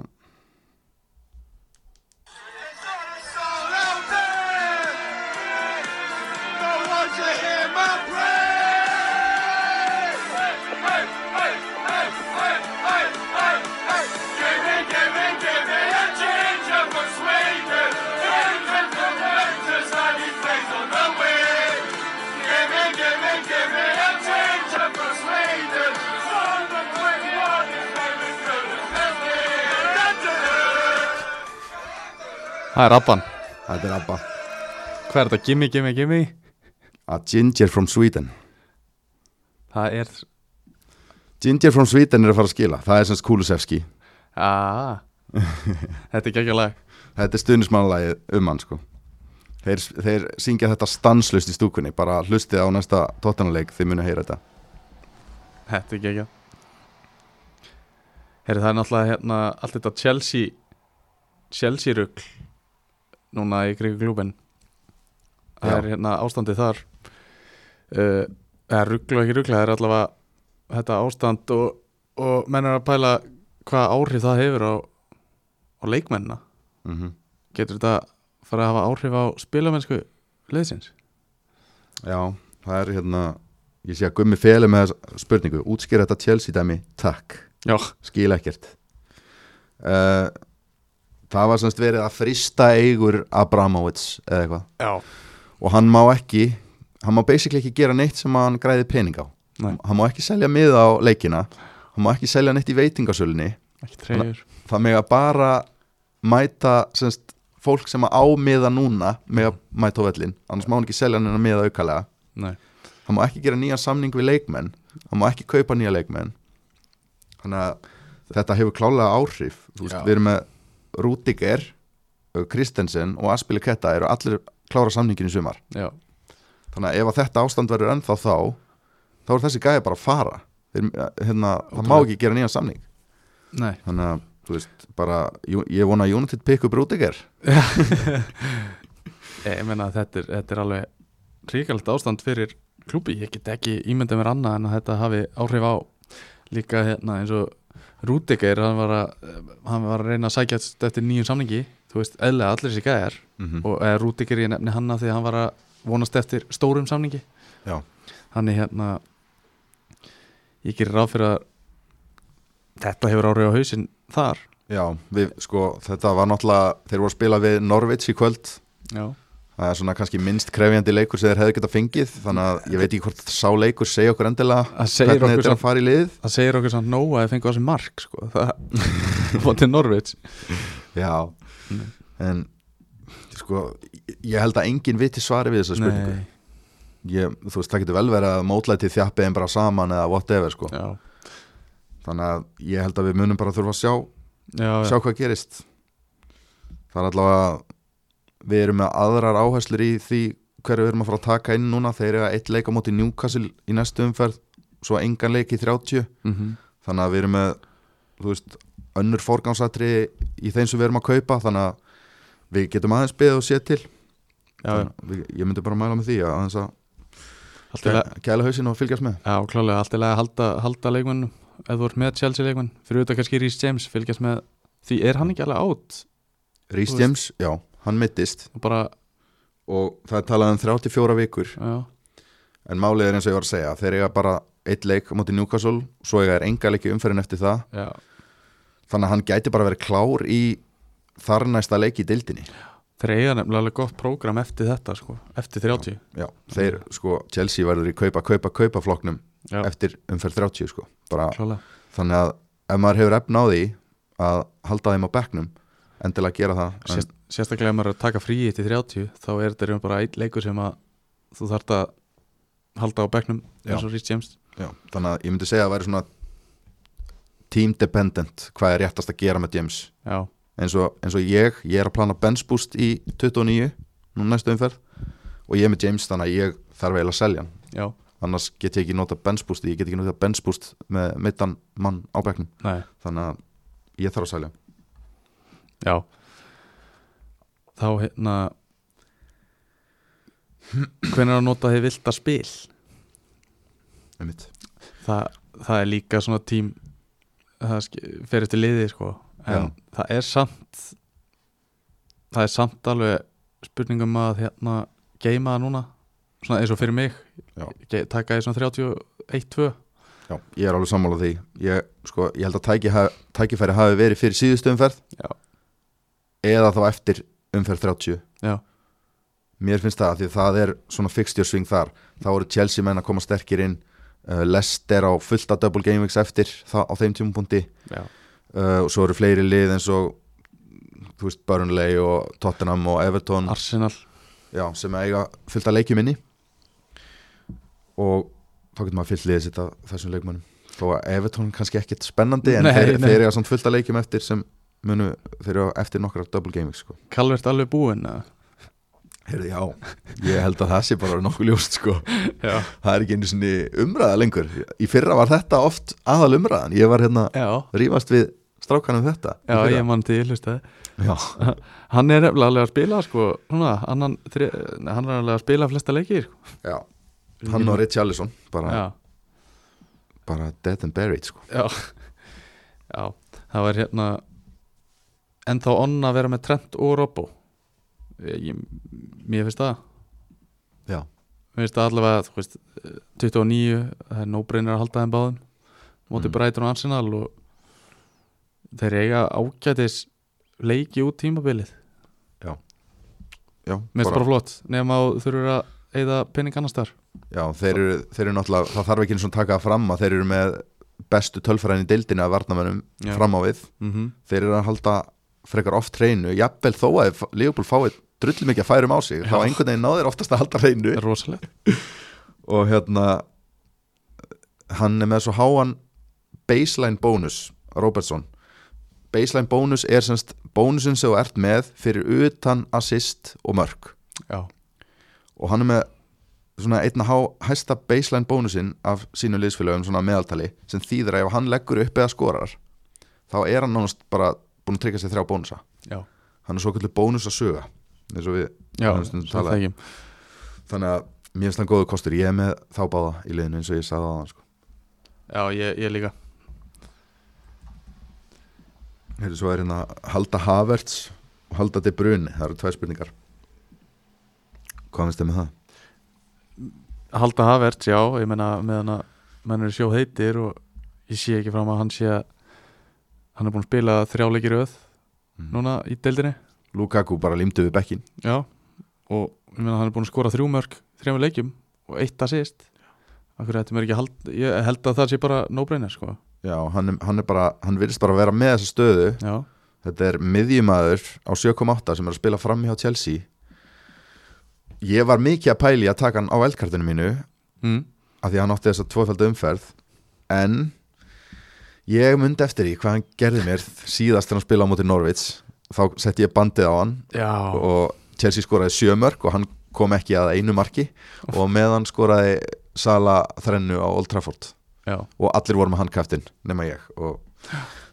Speaker 1: Það er Abban
Speaker 2: Þetta er Abba
Speaker 1: Hvað er þetta? Gimme, gimme, gimme
Speaker 2: A Ginger from Sweden
Speaker 1: Það er
Speaker 2: Ginger from Sweden er að fara að skila Það er semst Kulusevski
Speaker 1: ah. Þetta er gekkja lag
Speaker 2: Þetta er stuðnismannalagið um hann sko Þeir, þeir syngja þetta stanslust í stúkunni Bara hlustið á næsta tóttanleik Þið munu heyra þetta
Speaker 1: Þetta er gekkja Herri, það er náttúrulega hérna allt þetta Chelsea Chelsea rugl núna í krigu klúbin Það
Speaker 2: Já.
Speaker 1: er hérna ástandið þar uh, Það er rugl og ekki rugl það er allavega þetta ástand og, og menn er að pæla hvað áhrif það hefur á, á leikmennina
Speaker 2: mm
Speaker 1: getur þetta fara að hafa áhrif á spilamennsku liðsins?
Speaker 2: Já, það er hérna Ég sé að gummi feli með þessa spurningu Útskýr þetta Chelsea dæmi, takk
Speaker 1: Já,
Speaker 2: Skil ekkert uh, Það var semst verið að frista eigur Abramovits eða eitthvað
Speaker 1: já,
Speaker 2: og hann má ekki hann má basically ekki gera neitt sem hann græði pening á
Speaker 1: Nei.
Speaker 2: hann má ekki selja miða á leikina hann má ekki selja neitt í veitingasölunni
Speaker 1: ekki treyjur
Speaker 2: það mega bara mæta semst, fólk sem á miða núna mega mæta á vellin annars má hann ekki selja hann miða aukalega
Speaker 1: Nei,
Speaker 2: hann má ekki gera nýjan samning við leikmenn hann má ekki kaupa nýja leikmenn þannig að þetta hefur klálega áhrif Þú veist,
Speaker 1: Já.
Speaker 2: við erum með Rúdiger Kristensen og Aspili Ketta eru allir klára samningin í sumar
Speaker 1: já,
Speaker 2: þannig að ef að þetta ástand verður ennþá þá þá er þessi gæði bara að fara Þeir, hérna, það má
Speaker 1: Ótrúlegt.
Speaker 2: ekki gera nýjan samning
Speaker 1: nei
Speaker 2: þannig að, þú veist, bara Jú- ég vona að United pick upp Rúdiger
Speaker 1: Eh, Ég, ég meina að þetta er, þetta er alveg ríkald ástand fyrir klúbi ég get ekki ímyndað mér annað en að þetta hafi áhrif á líka hérna eins og Rúdiger, hann var að hann var að reyna að sækja eftir nýjum samningi þú veist, eðlega allir sér gæjar
Speaker 2: Mhm.
Speaker 1: og eða, Rúdiger ég nefni hann að því að hann var að vonast eftir stórum samningi
Speaker 2: já,
Speaker 1: hann er hérna ég gerir ráð fyrir að þetta hefur áhrif á hausinn þar
Speaker 2: já, við, sko þetta var náttúrulega, þeir voru að spila við Norvits í kvöld
Speaker 1: já,
Speaker 2: það er svona kannski minnst krefjandi leikur sem þeir hefðu getað fengið, þannig að ég veit ekki hvort sá leikur segja okkur endilega
Speaker 1: Það segir
Speaker 2: hvernig
Speaker 1: okkur
Speaker 2: þetta er að
Speaker 1: samt-
Speaker 2: fara í lið
Speaker 1: það segir okkur samt nóg að þið fengu á þessi mark sko, það fótið Norvits
Speaker 2: já,
Speaker 1: Mm.
Speaker 2: en sko, ég held að enginn viti svari við þessa spurningu
Speaker 1: Nei,
Speaker 2: ég, þú veist, það getur vel verið að mótlætið þjappi einn bara saman eða whatever sko.
Speaker 1: já,
Speaker 2: þannig að ég held að við munum bara þurfa að sjá,
Speaker 1: já, já.
Speaker 2: sjá hvað gerist það er allavega við erum með aðrar áherslur í því hverju við erum að fara að taka inn núna þeir eru að eitt leik á móti Newcastle í næstu umferð svo engan leik í 30
Speaker 1: mm -hmm.
Speaker 2: þannig að við erum með þú veist, önnur forgánsatri í þeim sem við erum að kaupa þannig að við getum aðeins beðið og séð til
Speaker 1: Já, já,
Speaker 2: Þannig að við, ég myndi bara mæla með því að aðeins að
Speaker 1: allt í lagi
Speaker 2: kæla hausinn og fylgjast með
Speaker 1: Já, klálega, allt í lagi að halda, halda leikmann eða þú ert með Chelsea leikmann fyrir auðvitað kannski Rhys James fylgjast með því er hann ekki alveg átt
Speaker 2: Rhys
Speaker 1: Þú veist.
Speaker 2: James, já, hann mittist
Speaker 1: og bara,
Speaker 2: og það er talað um 34 vikur
Speaker 1: já,
Speaker 2: en málið er eins og ég var að segja þeir eiga bara eitt leik á móti Newcastle svo eiga er enga leiki umferðin eftir það
Speaker 1: já
Speaker 2: þannig að hann gæti bara verið klár í þar næsta leik í dildinni
Speaker 1: þeir eiga nefnilega alveg gott prógram eftir þetta sko, eftir 30
Speaker 2: já, þeir, sko, Chelsea verður í kaupa, kaupa, kaupa flokknum
Speaker 1: Mm. Já,
Speaker 2: eftir umferð 30 sko bara
Speaker 1: klálega,
Speaker 2: þannig að ef maður hefur efna á því að halda þeim á bekknum endilega gera það en,
Speaker 1: Sérst, sérstaklega ef maður er að taka fríi til 30 þá er þetta í raun bara einn leikur sem að þú þarft að halda á bekknum
Speaker 2: Já.
Speaker 1: eins og Rhys James
Speaker 2: já, þannig að ég myndi segja að það væri svona team dependent hvað er réttast að gera með James
Speaker 1: Já,
Speaker 2: eins og, eins og ég, ég er að plana bench boost í 29, nú næstu umferð og ég er með James þannig að ég þarf eiginlega að selja hann
Speaker 1: já,
Speaker 2: annars get ég ekki nota bench boost ég get ekki nota bench boost með mittan mann á bekknum
Speaker 1: nei,
Speaker 2: þannig að ég þarf að selja hann.
Speaker 1: já þá hérna hvernig er að nota þið vilt að spil
Speaker 2: Einmitt.
Speaker 1: Þa, það er líka svona tím það sk- fer eftir liði sko en
Speaker 2: Já.
Speaker 1: það er samt það er samt alveg spurningum að hérna geima það núna, svona eins og fyrir mig
Speaker 2: Já.
Speaker 1: Ge- taka því svona 31-2
Speaker 2: Já, ég er alveg sammála því ég, sko, ég held að tæki, tækifæri hafi verið fyrir síðustu umferð
Speaker 1: Já.
Speaker 2: eða þá eftir umferð 30
Speaker 1: Já.
Speaker 2: Mér finnst það að því að það er svona fixtjörsving þar þá eru Chelsea menn að koma sterkir inn uh, Lester á fullta double game weeks eftir það, á þeim tímapunkti
Speaker 1: já,
Speaker 2: uh, og svo eru fleiri lið eins og þú veist Burnley og Tottenham og Everton
Speaker 1: Arsenal
Speaker 2: já, sem eiga fullta leikjum inni og þá getur maður fyllt liðið sitt af þessum leikmönnum þó að Everton kannski ekkit spennandi en
Speaker 1: Nei,
Speaker 2: þeir,
Speaker 1: nei.
Speaker 2: þeir eiga samt fullta leikjum eftir sem munu, þeir eru eftir nokkra double gaming sko.
Speaker 1: Kalvert alveg búinn eða?
Speaker 2: Heyrðu, já, ég held að það sé bara nokkuð ljóst sko.
Speaker 1: já,
Speaker 2: það er ekki einu sinni umræða lengur í fyrra var þetta oft aðal umræðan ég var hérna
Speaker 1: já,
Speaker 2: rífast við strákanum þetta í
Speaker 1: já
Speaker 2: fyrra.
Speaker 1: ég mann til hlustaði
Speaker 2: já,
Speaker 1: hann er nefnilega alveg að spila sko svona, annan, þri, nei, hann er alveg að spila flesta leikir sko.
Speaker 2: já. hann og Richarlison bara,
Speaker 1: já,
Speaker 2: bara dead and buried sko.
Speaker 1: Já Já, það var hérna En þá onna að vera með Trent og Robbo ég, ég- Mér finnst það
Speaker 2: já,
Speaker 1: Mér finnst það allavega, þú veist eh, 29, það er nóbreynir að halda þeim báðum Móti
Speaker 2: Mm.
Speaker 1: Brighton og Arsenal og þeir eiga ágætis leiki út tímabilið
Speaker 2: já
Speaker 1: Mér finnst bara flott, nema að þú þurfur að eigða pening annars þar
Speaker 2: Já, þeir eru, þeir eru náttúrulega, það þarf ekki eins og taka það fram að þeir eru með bestu tölfræðin í deildinu að varnamönnum
Speaker 1: Já.
Speaker 2: fram á við.
Speaker 1: mm -hmm.
Speaker 2: Þeir eru að halda frekar oft hreinu, jafnvel þó að ef Liverpool fáið drullum ekki að færum á sig, þá
Speaker 1: Já.
Speaker 2: einhvern veginn náður oftast að halda hreinu
Speaker 1: Er rosalegt
Speaker 2: og hérna, hann er með svo háan baseline bónus, Robertson. Baseline bónus er semst bónusin sem þú ert með fyrir utan assist og mörg
Speaker 1: Já,
Speaker 2: og hann er með svona einna há, hæsta baseline bónusinn af sínu liðsfélögum svona meðaltali sem þýðir að ef hann leggur upp eða skorar þá er hann nánast bara búin að tryggja sér þrjá bónusa
Speaker 1: já,
Speaker 2: hann er svo kallið bónus að söga eins og við,
Speaker 1: já,
Speaker 2: Hann stundum
Speaker 1: það
Speaker 2: talaði.
Speaker 1: ekki
Speaker 2: þannig að mér finnst hann góðu kostur, ég er með þá báða í liðinu eins og ég sagði á hann sko.
Speaker 1: Já, ég, ég líka
Speaker 2: Heyrðu, svo er hérna halda Havertz og halda De Bruyne, það eru tvær spurningar hvað finnst þið með það?
Speaker 1: Halda Havertz, já, ég meina meðan að menn eru sjó heitir og ég sé ekki fram að hann sé að hann er búin að spila þrjáleikir öð
Speaker 2: Mhm.
Speaker 1: núna í deildinni
Speaker 2: Lukaku bara límdu við bekkin
Speaker 1: já, og ég meina hann er búin að skora þrjú mörg þrjáma leikjum og eitt að síst Akkur þetta mér ekki hald, ég held að það sé bara no-brainer sko,
Speaker 2: Já, hann, er- hann, er bara, hann virðist bara að vera með þessa stöðu
Speaker 1: já,
Speaker 2: Þetta er miðjumæður á 7.8 sem er að spila fram hjá Chelsea Ég var mikið að pæli að taka hann á eldkartinu mínu
Speaker 1: mm.
Speaker 2: af því að hann átti þess að tvöfaldu umferð en ég myndi eftir í hvað hann gerði mér síðast þegar hann spila á móti Norvits þá setti ég bandið á hann
Speaker 1: já,
Speaker 2: og Chelsea skoraði sjö mörg og hann kom ekki að einu marki og meðan skoraði Sala þrennu á Old Trafford
Speaker 1: já.
Speaker 2: og allir voru með handkaftin nema ég og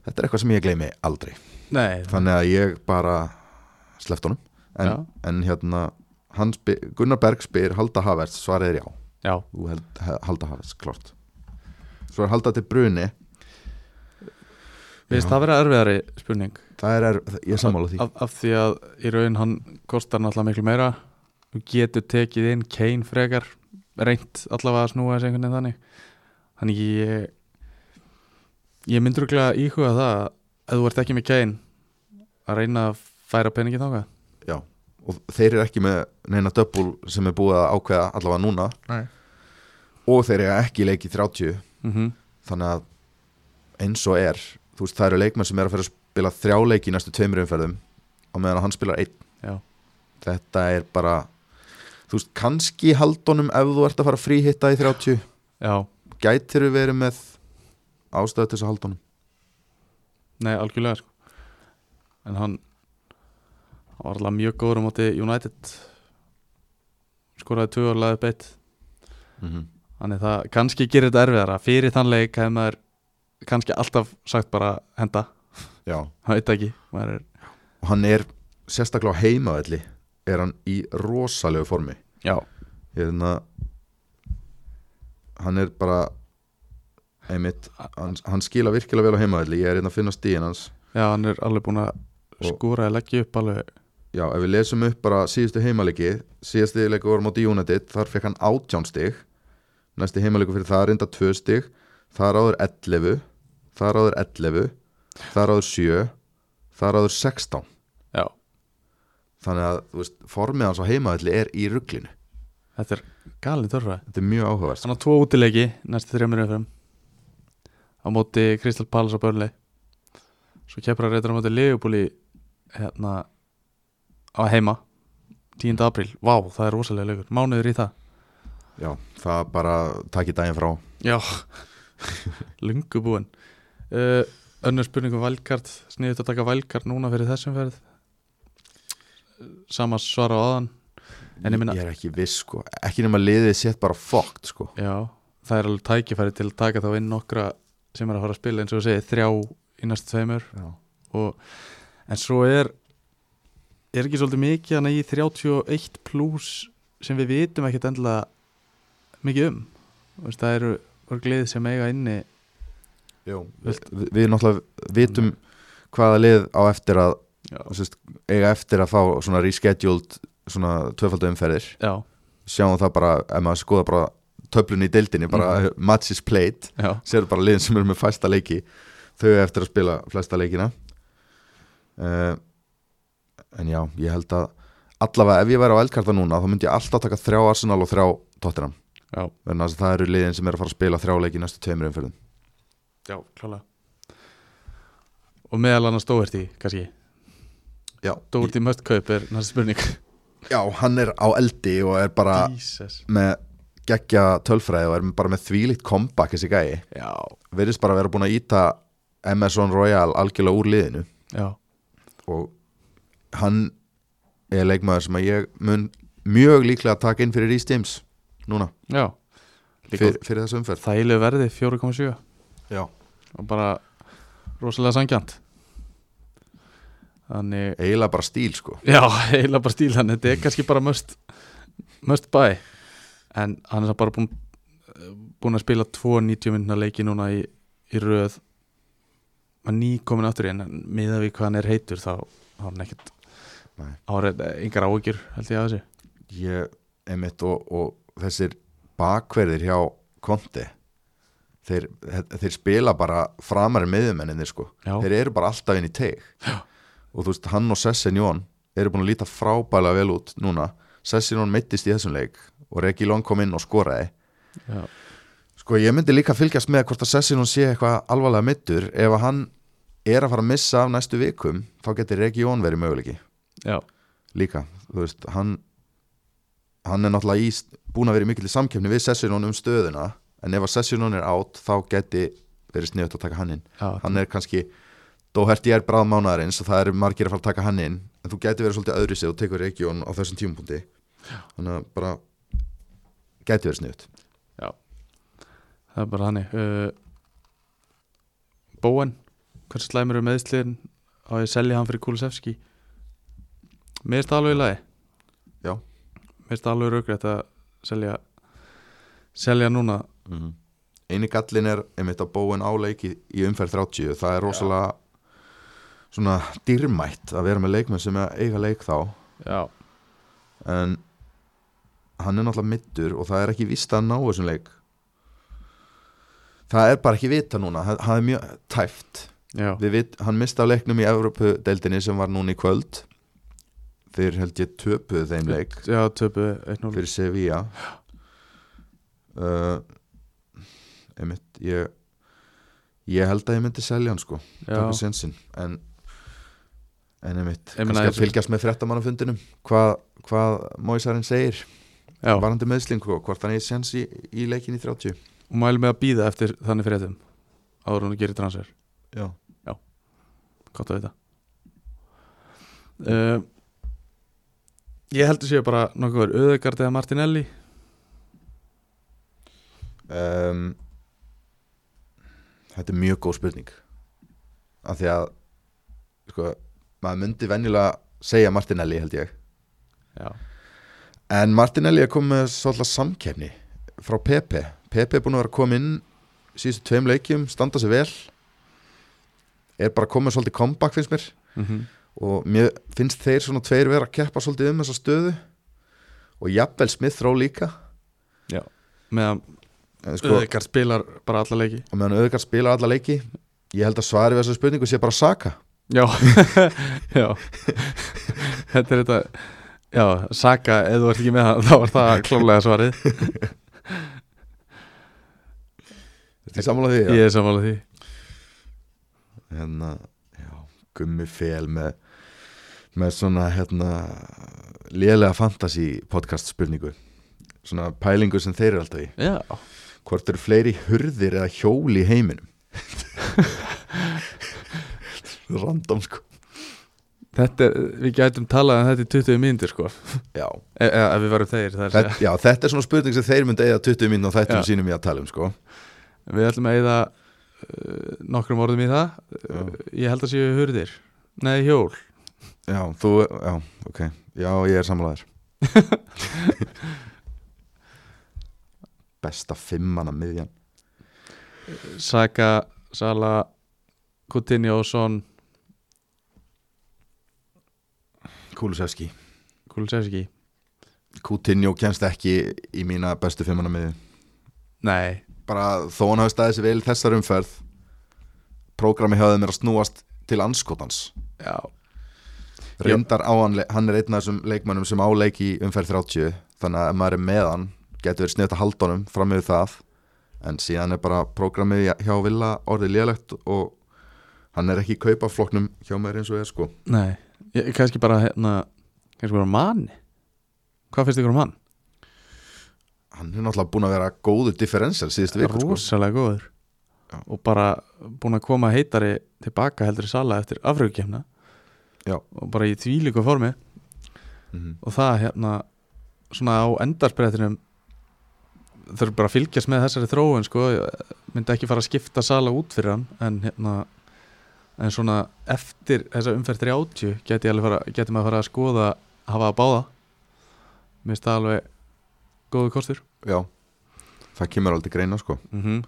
Speaker 2: þetta er eitthvað sem ég gleymi aldrei
Speaker 1: Nei,
Speaker 2: þannig að ég bara sleft honum en, en hérna hann spyr, Gunnar Berg spyr Halda Havertz svarið er já
Speaker 1: já,
Speaker 2: Þú held, he- Halda Havertz, klart svo er Halda til Bruni
Speaker 1: við veist
Speaker 2: Já.
Speaker 1: það vera erfiðari spurning
Speaker 2: það er, er ég er sammála því
Speaker 1: af, af því að í raun hann kostar náttúrulega miklu meira og getur tekið inn Kane frekar reynt allavega að snúa þessu einhvern veginn þannig þannig ég ég myndur ekki að íhuga það að ef þú ert ekki með Kane að reyna að færa peningi þáka
Speaker 2: og þeir eru ekki með neina döbbul sem er búið að ákveða allavega núna
Speaker 1: Nei.
Speaker 2: og þeir eru ekki leikið 30
Speaker 1: mm -hmm.
Speaker 2: þannig að eins og er þú veist það eru leikmenn sem er að fyrir að spila þrjá leiki í næstu tveimur umferðum á meðan að hann spilar einn
Speaker 1: Já.
Speaker 2: þetta er bara þú veist kannski haldunum ef þú ert að fara að fríhitta í 30
Speaker 1: já,
Speaker 2: gætir þú verið með ástöðu til þess að haldunum
Speaker 1: nei, algjörlega sko. en hann hann var allavega mjög góður á móti United skoraði tvö og laðið beitt
Speaker 2: mm -hmm.
Speaker 1: Þannig það kannski gerir þetta erfiðara Fyrir þann leik hefði maður kannski alltaf sagt bara henda
Speaker 2: já
Speaker 1: Það veit ekki maður er,
Speaker 2: og hann er sérstaklega á heimavelli er hann í rosalegu formi
Speaker 1: Já,
Speaker 2: hérna hann er bara einmitt, hann, hann skila virkilega vel á heimavelli, ég er hérna að finna stíðin hans
Speaker 1: já, hann er alveg búin að
Speaker 2: Og-
Speaker 1: skúra eða leggja upp alveg
Speaker 2: Já, ef við lesum upp bara síðustu heimalegi síðustu leiku var móti United þar fekk hann 18 stig næsti heimalegur fyrir það er reynda 2 stig þar áður 11 þar áður 11 þar áður 7 þar áður 16
Speaker 1: Já,
Speaker 2: þannig að þú veist, formið hans á heimaðalli er í rugglinu
Speaker 1: þetta er galin törfa
Speaker 2: þetta er mjög áhugavert
Speaker 1: Þannig að tvo útileiki næstu þrjumur umfram á móti Crystal Palace á Börnlei Svo keppur hann reyndar á móti Leifupúli hérna á heima 10. apríl, vá, það er rosalega leikur Mánuður í það
Speaker 2: Já, það bara takk í daginn frá
Speaker 1: Já, lungu búin uh, Önnur spurning um valkart Sniðut að taka valkart núna fyrir þessum ferð Sama svar á aðan En ég minna,
Speaker 2: er ekki viss sko, ekki nema liðið sett bara fokkt sko
Speaker 1: já Það er alveg tækifæri til að taka þá inn nokkra sem er að fara að spila eins og þú segir þrjá í næstu tveimur
Speaker 2: Já,
Speaker 1: og, En svo er er ekki svolítið mikið hann í 31 pluss sem við vitum ekkert endilega mikið um Þú veist, Það eru orglið sem eiga inni
Speaker 2: Jó, við, við, við náttúrulega vitum hvaða lið á eftir að
Speaker 1: Já,
Speaker 2: sérst, eiga eftir að fá svona rescheduled svona tvöfaldu umferðir
Speaker 1: já,
Speaker 2: sjáum það bara, ef maður skoða bara töflun í deildinni, bara matches played
Speaker 1: já.
Speaker 2: sér bara liðin sem eru með fæsta leiki þau eiga eftir að spila flesta leikina uh, en já, ég held að allavega ef ég væri á eldkarta núna þá myndi ég alltaf taka þrjá Arsenal og þrjá Tottenham
Speaker 1: já.
Speaker 2: vegna þess að það eru liðin sem eru að fara að spila þrjá leiki í næstu tveimur umferðum
Speaker 1: Já, klálega Og meðal annars Dóherty, kannski
Speaker 2: já,
Speaker 1: Dóherty must kaup er næsta spurning
Speaker 2: já, hann er á eldi og er bara
Speaker 1: Jesus
Speaker 2: með geggja tölfræði og er bara með þvílíkt comeback þessi gæi,
Speaker 1: Já,
Speaker 2: verðist bara að vera búin að íta Emerson Royal algjörlega úr liðinu
Speaker 1: já,
Speaker 2: og hann er leikmaður sem að ég mun mjög líklega að taka inn fyrir Rhys James núna,
Speaker 1: já Líka
Speaker 2: fyr, fyrir þessu umferð
Speaker 1: þægilegu verði 4,7
Speaker 2: Já.
Speaker 1: og bara rosalega sangjant Þannig
Speaker 2: eiginlega bara stíl sko
Speaker 1: Já, eiginlega bara stíl hann, þetta er kannski bara must, must buy en hann er samt bara búinn búin að spila tvo 90 minna leiki núna í, í röð og ný komin aftur í en miða við hvað hann er heitur þá þá er hann ekkert
Speaker 2: Nei.
Speaker 1: árið, engar áhyggjur held ég að þessu
Speaker 2: ég, einmitt, og, og þessir bakverðir hjá Conte þeir, þeir spila bara framar meðumenninni sko
Speaker 1: Já.
Speaker 2: þeir eru bara alltaf inn í teg Já. og þú veist, hann og Sessin Jón eru búin að líta frábæla vel út núna Sessin Jón meittist í þessum leik og Regi Long kom inn og skoraði
Speaker 1: Já,
Speaker 2: Sko ég myndi líka fylgjast með hvort að Sessin hún sé eitthvað alvarlega mittur ef að hann er að fara að missa af næstu vikum þá getur Region verið möguleiki
Speaker 1: já,
Speaker 2: líka, þú veist, hann hann er náttúrulega í, búin að vera í mikil samkefni við Sessin hún um stöðuna en ef að Sessin hún er átt þá geti verið sniðut að taka hann inn
Speaker 1: já,
Speaker 2: hann er kannski Dóherti er bráð mánaðarins og það eru margir að fara að taka hann inn en þú gæti verið svolítið öðru sig og tekur region á þessum tímupunkti þannig að bara gæti verið sniðut
Speaker 1: það er bara þannig uh, Bóen hversu slæmur er meðsliðin á ég að selja hann fyrir Kulisevski mér er það alveg í lagi
Speaker 2: Já.
Speaker 1: mér er það alveg raugrætt að selja selja núna
Speaker 2: mm eini gallin er einmitt að bóin á leiki í umferð 30 það er rosalega svona dýrmætt að vera með leikmenn sem eiga leik þá
Speaker 1: já,
Speaker 2: en hann er náttúrulega middur og það er ekki víst að hann ná þessum leik það er bara ekki vita núna það, það er mjög tæft
Speaker 1: já,
Speaker 2: Við vit, hann misti af leiknum í Evropu-deildinni sem var núna í kvöld þeir held ég töpuðu þeim leik
Speaker 1: já töpu 1-0
Speaker 2: fyrir Sevilla uh, einmitt ég, ég held að ég myndi selja hann sko taka
Speaker 1: já,
Speaker 2: sensin en, en einmitt,
Speaker 1: Ég meina,
Speaker 2: kannski að
Speaker 1: þessu-
Speaker 2: fylgjast með fréttamannafundinum hvað, hvað Móisarinn segir
Speaker 1: já.
Speaker 2: varandi meðslingu og hvort hann eigi sens í, í leikin í 30
Speaker 1: og mælum með að býða eftir þannig fyrir þeim áður en hún gerir transfer,
Speaker 2: já,
Speaker 1: gott að vita uh, ég heldur séu bara nokkuð auðegard eða Martinelli
Speaker 2: um, þetta er mjög góð spurning af því að sko, maður myndi venjulega segja Martinelli held ég
Speaker 1: já,
Speaker 2: en Martinelli er komið með svolítið samkefni frá Pepe Pepe er búin að vera að koma inn síðustu tveim leikjum, standa sig vel er bara komið svolítið comeback finnst mér
Speaker 1: mm -hmm.
Speaker 2: og mér finnst þeir svona tveir vera að keppa svolítið um þessa stöðu og jafnvel Smith Rowe líka
Speaker 1: meðan
Speaker 2: en sko,
Speaker 1: Öðegard spilar bara alla leiki
Speaker 2: og meðan auðvitað spila alla leiki ég held að svari við þessa spurningu sé bara Saka
Speaker 1: Já, já Þetta er þetta Já, Saka, ef þú ert ekki með það þá var það klálega svarið
Speaker 2: Þetta er sammála því,
Speaker 1: Ég er sammála því
Speaker 2: Hérna, já, gummi fel með, með svona hérna, lélega fantasy podcast spurningu svona pælingu sem þeir eru alltaf í
Speaker 1: Já,
Speaker 2: hvort eru fleiri hurðir eða hjóli í heiminum random sko
Speaker 1: þetta er, við gætum talað um þetta í 20 mínútur sko e
Speaker 2: já,
Speaker 1: Eða ef við varum þeir það er að
Speaker 2: þetta, já, þetta er svona spurning sem þeir myndi eða 20 minn og
Speaker 1: Já.
Speaker 2: þættum sínum ég að tala um sko
Speaker 1: segja Við ætlum að eyða uh, nokkrum orðum í það uh, Ég held að séu hurðir Nei, hjól
Speaker 2: já, þú, já, ok já, ég er sammálaður besta fimmana miðjan
Speaker 1: Saka, Sala, Coutinho, Son,
Speaker 2: Kúlusefski
Speaker 1: Kulusevski
Speaker 2: Coutinho kemst ekki í mína bestu fimmana miðju
Speaker 1: Nei,
Speaker 2: bara þó hann hafi staðið sér vel í þessar umferð prógrami hafði mér að snúast til anskotans
Speaker 1: já,
Speaker 2: reyndar á hann, hann er einn af þessum leikmönnum sem á leik í umferð 30 þannig að ef maður er með hann getur verið sniðt að halda honum fram yfir það en síðan er bara prógramið hjá Villa orðið lélegt og hann er ekki í kaupafloknum hjá mér eins og er sko
Speaker 1: Nei, ég, kannski bara hérna, kannski bara manni Hvað finnst ykkur um hann?
Speaker 2: hann er náttúrulega búin að vera góður differential síðustu vikur sko
Speaker 1: Rosalega góður
Speaker 2: Já.
Speaker 1: og bara búin að koma heitari tilbaka heldur í sala eftir afraugkjæmna
Speaker 2: Já.
Speaker 1: og bara í þvílíku formi
Speaker 2: Mhm.
Speaker 1: og það hérna svona á endarsprettinum þurfum bara að fylgjast með þessari þróun sko, ég myndi ekki fara að skipta sala út fyrir hann en hérna en svona eftir þessa umferð 30 geti, ég alveg fara, geti maður fara að skoða hafa að báða mér finnst það alveg góðu kostur
Speaker 2: já, það kemur aldrei greina sko
Speaker 1: mm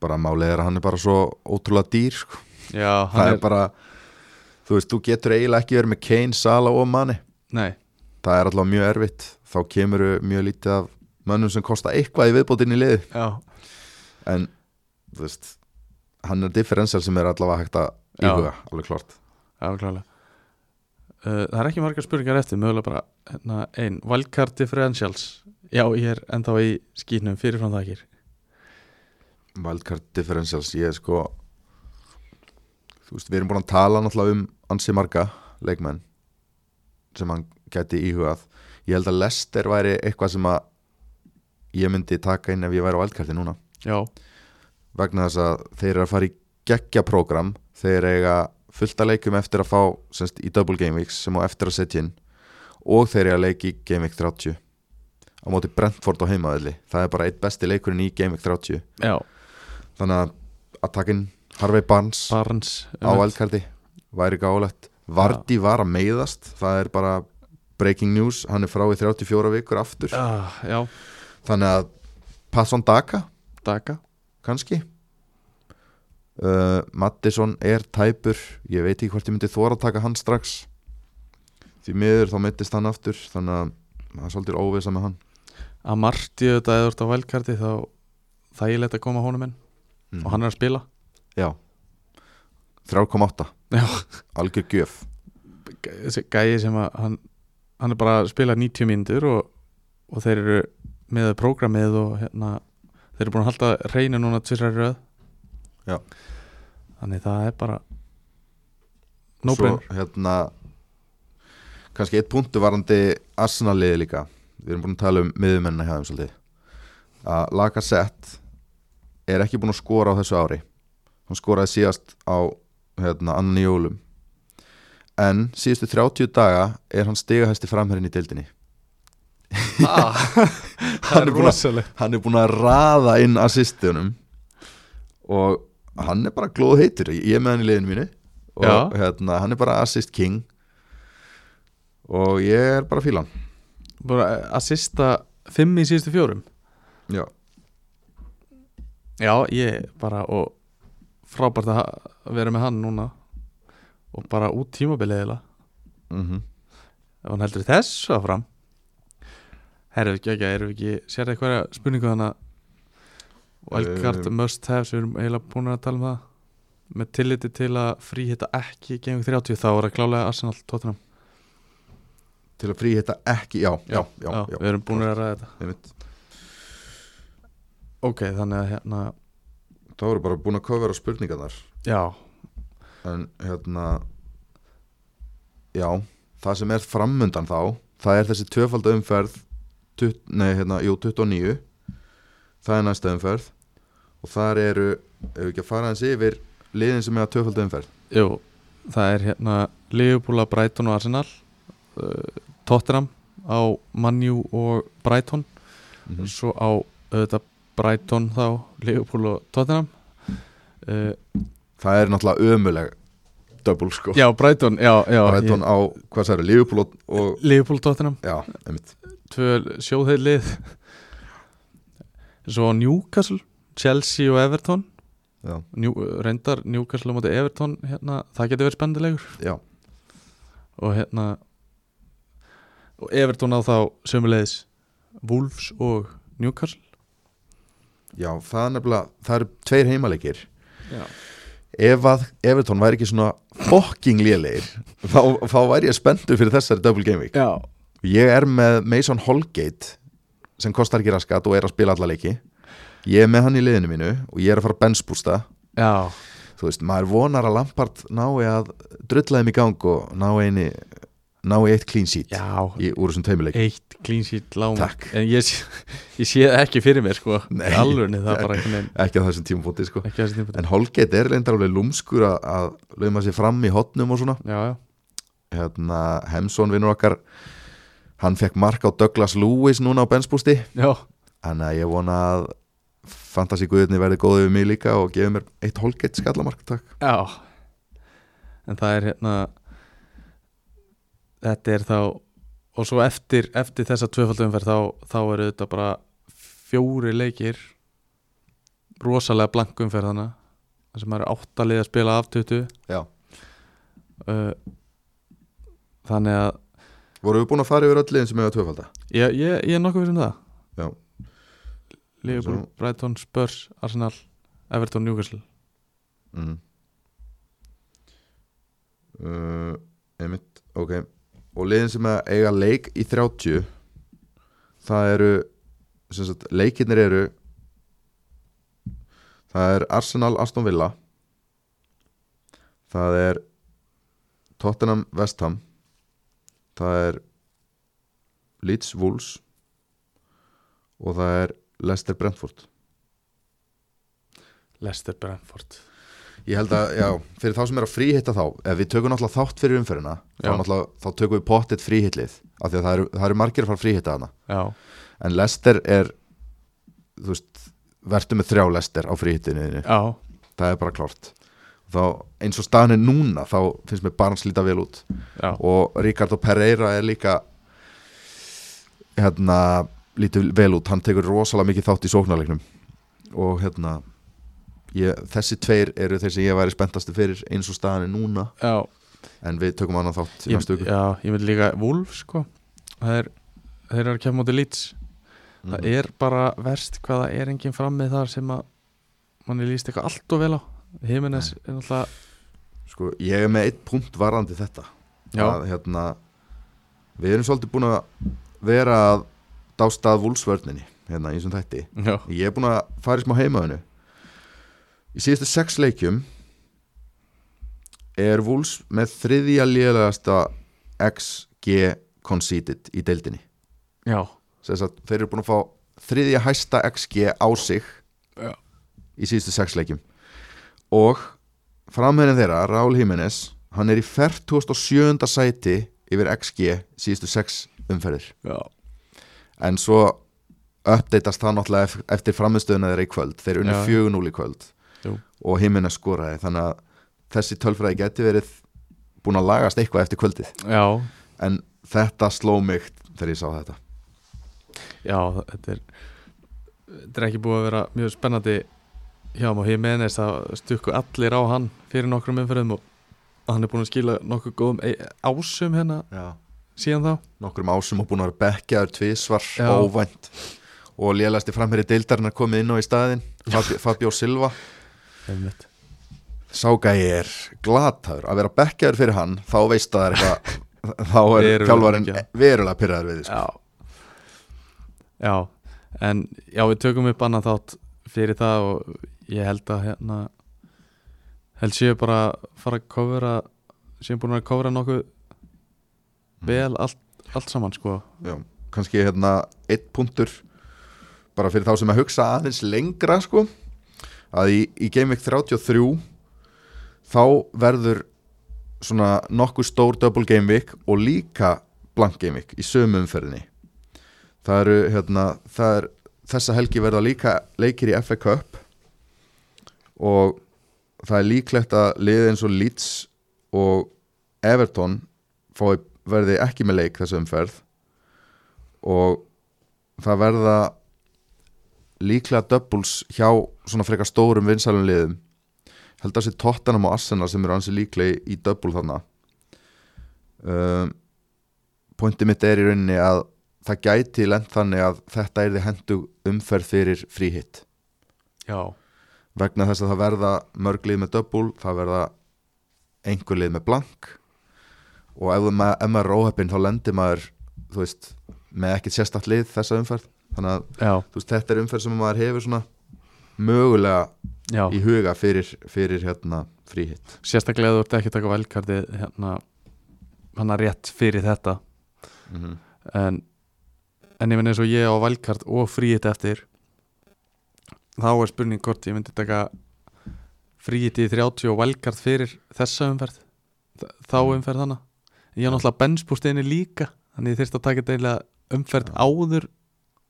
Speaker 2: bara málið er að hann er bara svo ótrúlega dýr sko
Speaker 1: Já, hann
Speaker 2: það er bara þú veist, þú getur eiginlega ekki verið með Kane, Sala og Mane
Speaker 1: Nei,
Speaker 2: það er alltaf mjög erfitt þá kemur mjög lítið af mönnum sem kosta eitthvað í viðbótinn í liði
Speaker 1: já,
Speaker 2: en þú veist hann er differential sem er allavega hægt að
Speaker 1: Já.
Speaker 2: íhuga, alveg klart
Speaker 1: já klálega uh, Það er ekki margar spurningar eftir mögulega bara hérna, ein, Wildcard Differentials Já, ég er ennþá í skýnum fyrirfram þakir
Speaker 2: wildcard differentials, ég er sko þú veist, við erum búin að tala náttúrulega um ansi marga leikmenn sem hann gæti íhugað ég held að Lester væri eitthvað sem að ég myndi taka inn ef ég væri á wildcardi núna
Speaker 1: Já,
Speaker 2: vegna þess að þeir eru að fara í geggja program þeir eiga fullt að leikum eftir að fá semst, í double game weeks sem á eftir að setja inn og þeir eru að leiki í game week 30 á móti Brentford á heimaðli það er bara eitt besti leikurinn í game week 30
Speaker 1: já,
Speaker 2: þannig að attackinn Harvey Barnes
Speaker 1: Barnes
Speaker 2: á eldkarti væri gálegt Vardi var að meiðast það er bara breaking news hann er frá í 34 vikur aftur
Speaker 1: ah, Já,
Speaker 2: þannig að Passon Daka
Speaker 1: Daga
Speaker 2: kannski uh, Mattisson er tæpur ég veit ekki hvort ég myndi þóra að taka hann strax því miður þá meittist hann aftur þannig að það er svolítið óvisa með hann
Speaker 1: að Marti þetta eða þú ert á velkarti þá þægilegt að koma honum inn
Speaker 2: Mhm.
Speaker 1: og hann er að spila
Speaker 2: já 3,8
Speaker 1: Já.
Speaker 2: algjör gjöf
Speaker 1: Gæ- þessi gæi sem að hann, hann er bara að spila 90 mínútur og, og þeir eru með prógramið og hérna þeir eru búin að halda reynu núna tvisrar í röð
Speaker 2: Já.
Speaker 1: þannig það er bara no
Speaker 2: Svo
Speaker 1: brainer
Speaker 2: hérna kannski eitt punktu varandi Arsenal-liði líka við erum búin að tala um miðumennina hjá þeim svolítið að Lacazette er ekki búin að skora á þessu ári hann skoraði síðast á hérna, annan í jólum en síðustu 30 daga er hann stigahæsti framherrin í deildinni
Speaker 1: ah,
Speaker 2: Hann er búinn að-
Speaker 1: rosaleg
Speaker 2: hann er búin að raða inn assistunum og hann er bara glóð heitur ég er með hann í liðinu mínu og
Speaker 1: Já.
Speaker 2: hérna, hann er bara assist king og ég er bara að fíla hann
Speaker 1: bara að sista fimm í síðustu fjórum
Speaker 2: já,
Speaker 1: já ég bara og frábært að ha- vera með hann núna og bara út tímabilið eiginlega.
Speaker 2: mm
Speaker 1: ef hann heldur þessu áfram herru ekki ekki, erum við ekki sér það hverja spurningu þannig að wildcard
Speaker 2: Um,
Speaker 1: must have sem við erum eiginlega búin að tala um það með tilliti til að fríhita ekki gengum 30 þá er að klálega Arsenal Tottenham
Speaker 2: til að frí hitta ekki já, já, já, já,
Speaker 1: við erum búin að ræða þetta
Speaker 2: einmitt.
Speaker 1: ok, þannig að hérna
Speaker 2: þá voru bara búin að kofera spurningarnar
Speaker 1: já,
Speaker 2: en hérna já, það sem er framundan þá það er þessi tvöfalda umferð tut, nei, hérna, jú, 29 það er næsta umferð og þar eru, ef við ekki að fara hans yfir liðin sem er að tvöfalda umferð
Speaker 1: jú, það er hérna Liverpool að Brighton og Arsenal uh, Tottenham á Manju og Brighton
Speaker 2: Mhm. Mm.
Speaker 1: svo á auðvitað Brighton þá, Liverpool og Tottenham uh,
Speaker 2: það er náttúrulega ömuleg double sko,
Speaker 1: Já, Brighton, já, já
Speaker 2: Brighton á, hvað særu, Liverpool og, og
Speaker 1: ég, Liverpool Tottenham,
Speaker 2: já, einmitt
Speaker 1: tvö sjóðheilið Svo Newcastle, Chelsea og Everton
Speaker 2: já,
Speaker 1: New, Reyndar Newcastle á móti Everton hérna, það getur verið spendilegur
Speaker 2: já,
Speaker 1: og hérna og Everton á þá sömulegis Wolves og Newcastle
Speaker 2: já, það er nefnilega það eru tveir heimaleikir
Speaker 1: Já,
Speaker 2: ef að Everton væri ekki svona fucking lélegir þá, þá væri ég spenntur fyrir þessari double game week
Speaker 1: já,
Speaker 2: ég er með Mason Holgate sem kostar ekki raskat og er að spila alla leiki ég er með hann í liðinu mínu og ég er að fara að benchbústa
Speaker 1: já.
Speaker 2: þú veist, maður vonar að Lampard nái að drulla þeim í gang og nái eini nái eitt clean sheet
Speaker 1: já.
Speaker 2: í, úr þessum teimuleik
Speaker 1: eitt clean sheet lágmark
Speaker 2: Takk.
Speaker 1: en ég, sé- ég sé það ekki fyrir mér sko
Speaker 2: Nei.
Speaker 1: alveg það er bara einhvern veginn
Speaker 2: ekki að þessum tímafóti sko
Speaker 1: ekki þessi tíma
Speaker 2: en Holgate er reyndar alveg lúmskur að, að lauma sér fram í hotnum og svona
Speaker 1: já, já,
Speaker 2: hérna, Hemsson vinnur okkar hann fekk mark á Douglas Lewis núna á benspústi
Speaker 1: já,
Speaker 2: þannig að ég vona að fantasy guðinni verði góðið við mig líka og gefið mér eitt holgeitt skallamark takk
Speaker 1: já en það er hérna þetta er þá og svo eftir, eftir þessa tvöfaldumferð þá, þá eru þetta bara fjóri leikir rosalega blankumferð þannig þar sem eru áttalið að spila af 20
Speaker 2: Já.
Speaker 1: uh, þannig að
Speaker 2: voru við búin að fara yfir öll liðin sem hefur tvöfalda
Speaker 1: Ég, ég, ég er nokkuð fyrir um það
Speaker 2: Já.
Speaker 1: Liverpool,
Speaker 2: Svo-
Speaker 1: Brighton, Spurs, Arsenal Everton, Newcastle
Speaker 2: mm. uh, einmitt, ok og liðin sem að eiga leik í 30 það eru sem sagt, leikirnir eru það er Arsenal Aston Villa það er Tottenham West Ham það er Leeds Wolves og það er Leicester Brentford
Speaker 1: Leicester, Brentford
Speaker 2: ég held að, já, fyrir þá sem er að fríhitta þá ef við tökum náttúrulega þátt fyrir umferðina þá,
Speaker 1: Já.
Speaker 2: náttúrulega- þá tökum við pottet fríhitlið af því að það eru, það eru margir að fara að fríhitta hana
Speaker 1: já,
Speaker 2: en lester er þú veist, verður með þrjá lester á fríhittinu þínu.
Speaker 1: já,
Speaker 2: það er bara klárt þá, eins og staðan er núna þá finnst mér barns líta vel út
Speaker 1: já,
Speaker 2: og Ricardo Pereira er líka hérna lítið vel út, hann tekur rosalega mikið þátt í sóknarleiknum og hérna ég, þessi tveir eru þeir sem ég væri spenntastu fyrir eins og staðan er núna
Speaker 1: já.
Speaker 2: en við tökum annan þátt í
Speaker 1: Ég,
Speaker 2: næstu viku
Speaker 1: já, ég myndi líka Wolf sko það er, þeir eru að kemja móti Leeds það
Speaker 2: Mhm.
Speaker 1: er bara verst hvað það er enginn fram með þar sem að manni líst eitthvað allt og vel á Jimenez er náttúrulega
Speaker 2: sko, ég er með eitt punkt varðandi þetta
Speaker 1: já,
Speaker 2: að hérna við erum svolítið búin að vera að dástað vúlsvörninni hérna eins og þætti
Speaker 1: já,
Speaker 2: Ég er búin að fara í smá heimaðinu Í síðustu sex leikjum er Wolves með þriðja lélegasta XG conceded í deildinni
Speaker 1: já,
Speaker 2: Sess að þeir eru búin að fá þriðja hæsta XG á sig
Speaker 1: Já.
Speaker 2: í síðustu sex leikjum og framherinn þeirra, Raúl Jiménez hann er í 47. sæti yfir XG síðustu sex umferðir
Speaker 1: já.
Speaker 2: en svo uppdeitast það náttúrulega ef- eftir framistöðuna þeirra í kvöld þeir unni
Speaker 1: Já.
Speaker 2: 4-0 í kvöld
Speaker 1: Jú.
Speaker 2: og himina skoraði þannig að þessi tölfræði geti verið búin að lagast eitthvað eftir kvöldið
Speaker 1: já.
Speaker 2: en þetta sló mig þegar ég sá þetta
Speaker 1: Já, þa- þetta er þetta er ekki búið að vera mjög spennandi hjá hann og ég meðin þess að stukku allir á hann fyrir nokkrum umferðum og hann er búin að skila nokkuð góðum ei- ásum hérna
Speaker 2: Já.
Speaker 1: síðan þá
Speaker 2: nokkrum ásum og búin að vera bekkjaður tvísvar
Speaker 1: Já.
Speaker 2: óvænt og lélæsti framherri deildarinn er komið inn á í staðin Fabio, Fabio Silva
Speaker 1: Einmitt.
Speaker 2: ságæi er glataður að vera bekkjaður fyrir hann þá veist að það er eitthvað þá er
Speaker 1: Verulega
Speaker 2: þjálfarinn
Speaker 1: ekki.
Speaker 2: verulega pyrraður við því sko.
Speaker 1: Já Já, en já við tökum upp annað þátt fyrir það og ég held að hérna held séu bara að fara að kofra séu búin að kofra nokkuð vel allt, allt saman sko
Speaker 2: Já, kannski hérna eitt punktur bara fyrir þá sem að hugsa aðeins lengra sko að í, í Game Week 33 þá verður svona nokkuð stór double Game Week og líka blank Game Week í sömu umferðinni það eru hérna það er, þessa helgi verða líka leikir í FA Cup og það er líklegt að liðið eins og Leeds og Everton fái, verði ekki með leik þessa umferð og það verða líklega doubles hjá svona frekar stórum vinsælum liðum held að sé Tottenham og Arsenal sem eru ansi líklega í double þarna um, pointi mitt er í rauninni að það gæti lent þannig að þetta er þið hendu umferð fyrir fríhitt
Speaker 1: Já,
Speaker 2: vegna þess að það verða mörg lið með double, það verða einhver lið með blank og ef, ma ef maður er óheppinn þá lendir maður þú veist, með ekkert sérstakt lið þessa umferð þannig að
Speaker 1: já,
Speaker 2: þú veist, þetta er umferð sem maður hefur svona mögulega
Speaker 1: já.
Speaker 2: í huga fyrir, fyrir hérna fríhitt
Speaker 1: sérstaklega þú ert ekki að taka velkardið hérna hann er rétt fyrir þetta
Speaker 2: mm -hmm.
Speaker 1: en, en ég minn eins og ég á velkard og fríitt eftir þá er spurning hvort ég myndi taka fríitt í 30 og velkard fyrir þessa umferð þ- þá umferð hana ég á náttúrulega benspústiðinni líka þannig ég þyrst að taka deila umferð
Speaker 2: Já.
Speaker 1: áður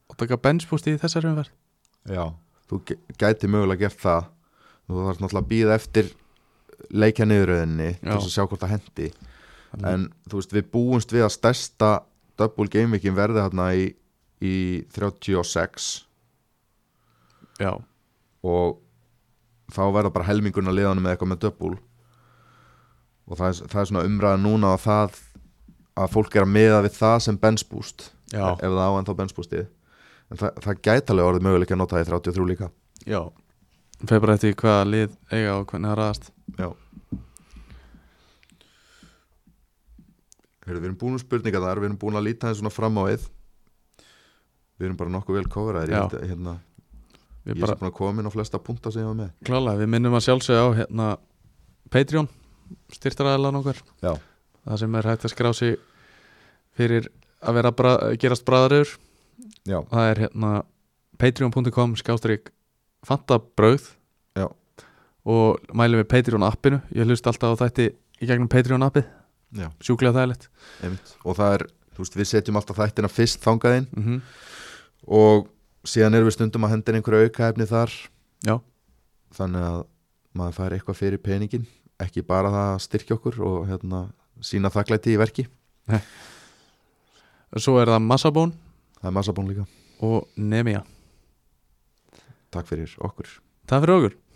Speaker 1: og taka benspústið í þessari umferð
Speaker 2: Já Þú gæ- gæti mögulega gert það þú þarf náttúrulega að býða eftir leikja niðuröðinni til
Speaker 1: Já.
Speaker 2: þess að sjá hvort það hendi en þú veist, við búumst við að stærsta double gamevikin verði hérna í, í 36
Speaker 1: já,
Speaker 2: og þá verða bara helmingurinn að liðanum með eitthvað með double og það er, það er svona umræða núna að það að fólk er að miða við það sem benchboost
Speaker 1: já,
Speaker 2: ef það á ennþá benchboostið en það, það gæti alveg orðið möguleik að nota það í 33 líka
Speaker 1: já. fer bara eftir hvaða lið eiga og hvernig það raðast
Speaker 2: Já Heyrðu, við erum búin um spurninga þar, við erum búin að líta þeim svona fram á við Við erum bara nokkuð vel kofraðir
Speaker 1: Já.
Speaker 2: Ég, held að, hérna,
Speaker 1: Við
Speaker 2: ég er sem búin að koma inn á flesta punta sem ég var með
Speaker 1: Klálega, við minnum að sjálfsögja á hérna, Patreon, styrtaræðilan okkar
Speaker 2: Já.
Speaker 1: það sem er hægt að skrá sig fyrir að vera bra gerast bræðarur
Speaker 2: Já,
Speaker 1: það er hérna patreon.com skástrík fantabrauð
Speaker 2: Já.
Speaker 1: og mælum við Patreon appinu ég hlust alltaf á þætti í gegnum Patreon appið
Speaker 2: Já.
Speaker 1: sjúklega þægilegt
Speaker 2: einmitt. og það er, þú veist, við setjum alltaf þættina fyrst þangað inn
Speaker 1: mm
Speaker 2: og síðan erum við stundum að henda inn einhverju aukaefni þar
Speaker 1: Já.
Speaker 2: þannig að maður fær eitthvað fyrir peningin ekki bara það að styrkja okkur og hérna, sína þakklæti í verki
Speaker 1: svo er það Massabón
Speaker 2: það er massabón líka,
Speaker 1: og Nemia
Speaker 2: takk fyrir okkur
Speaker 1: það fyrir okkur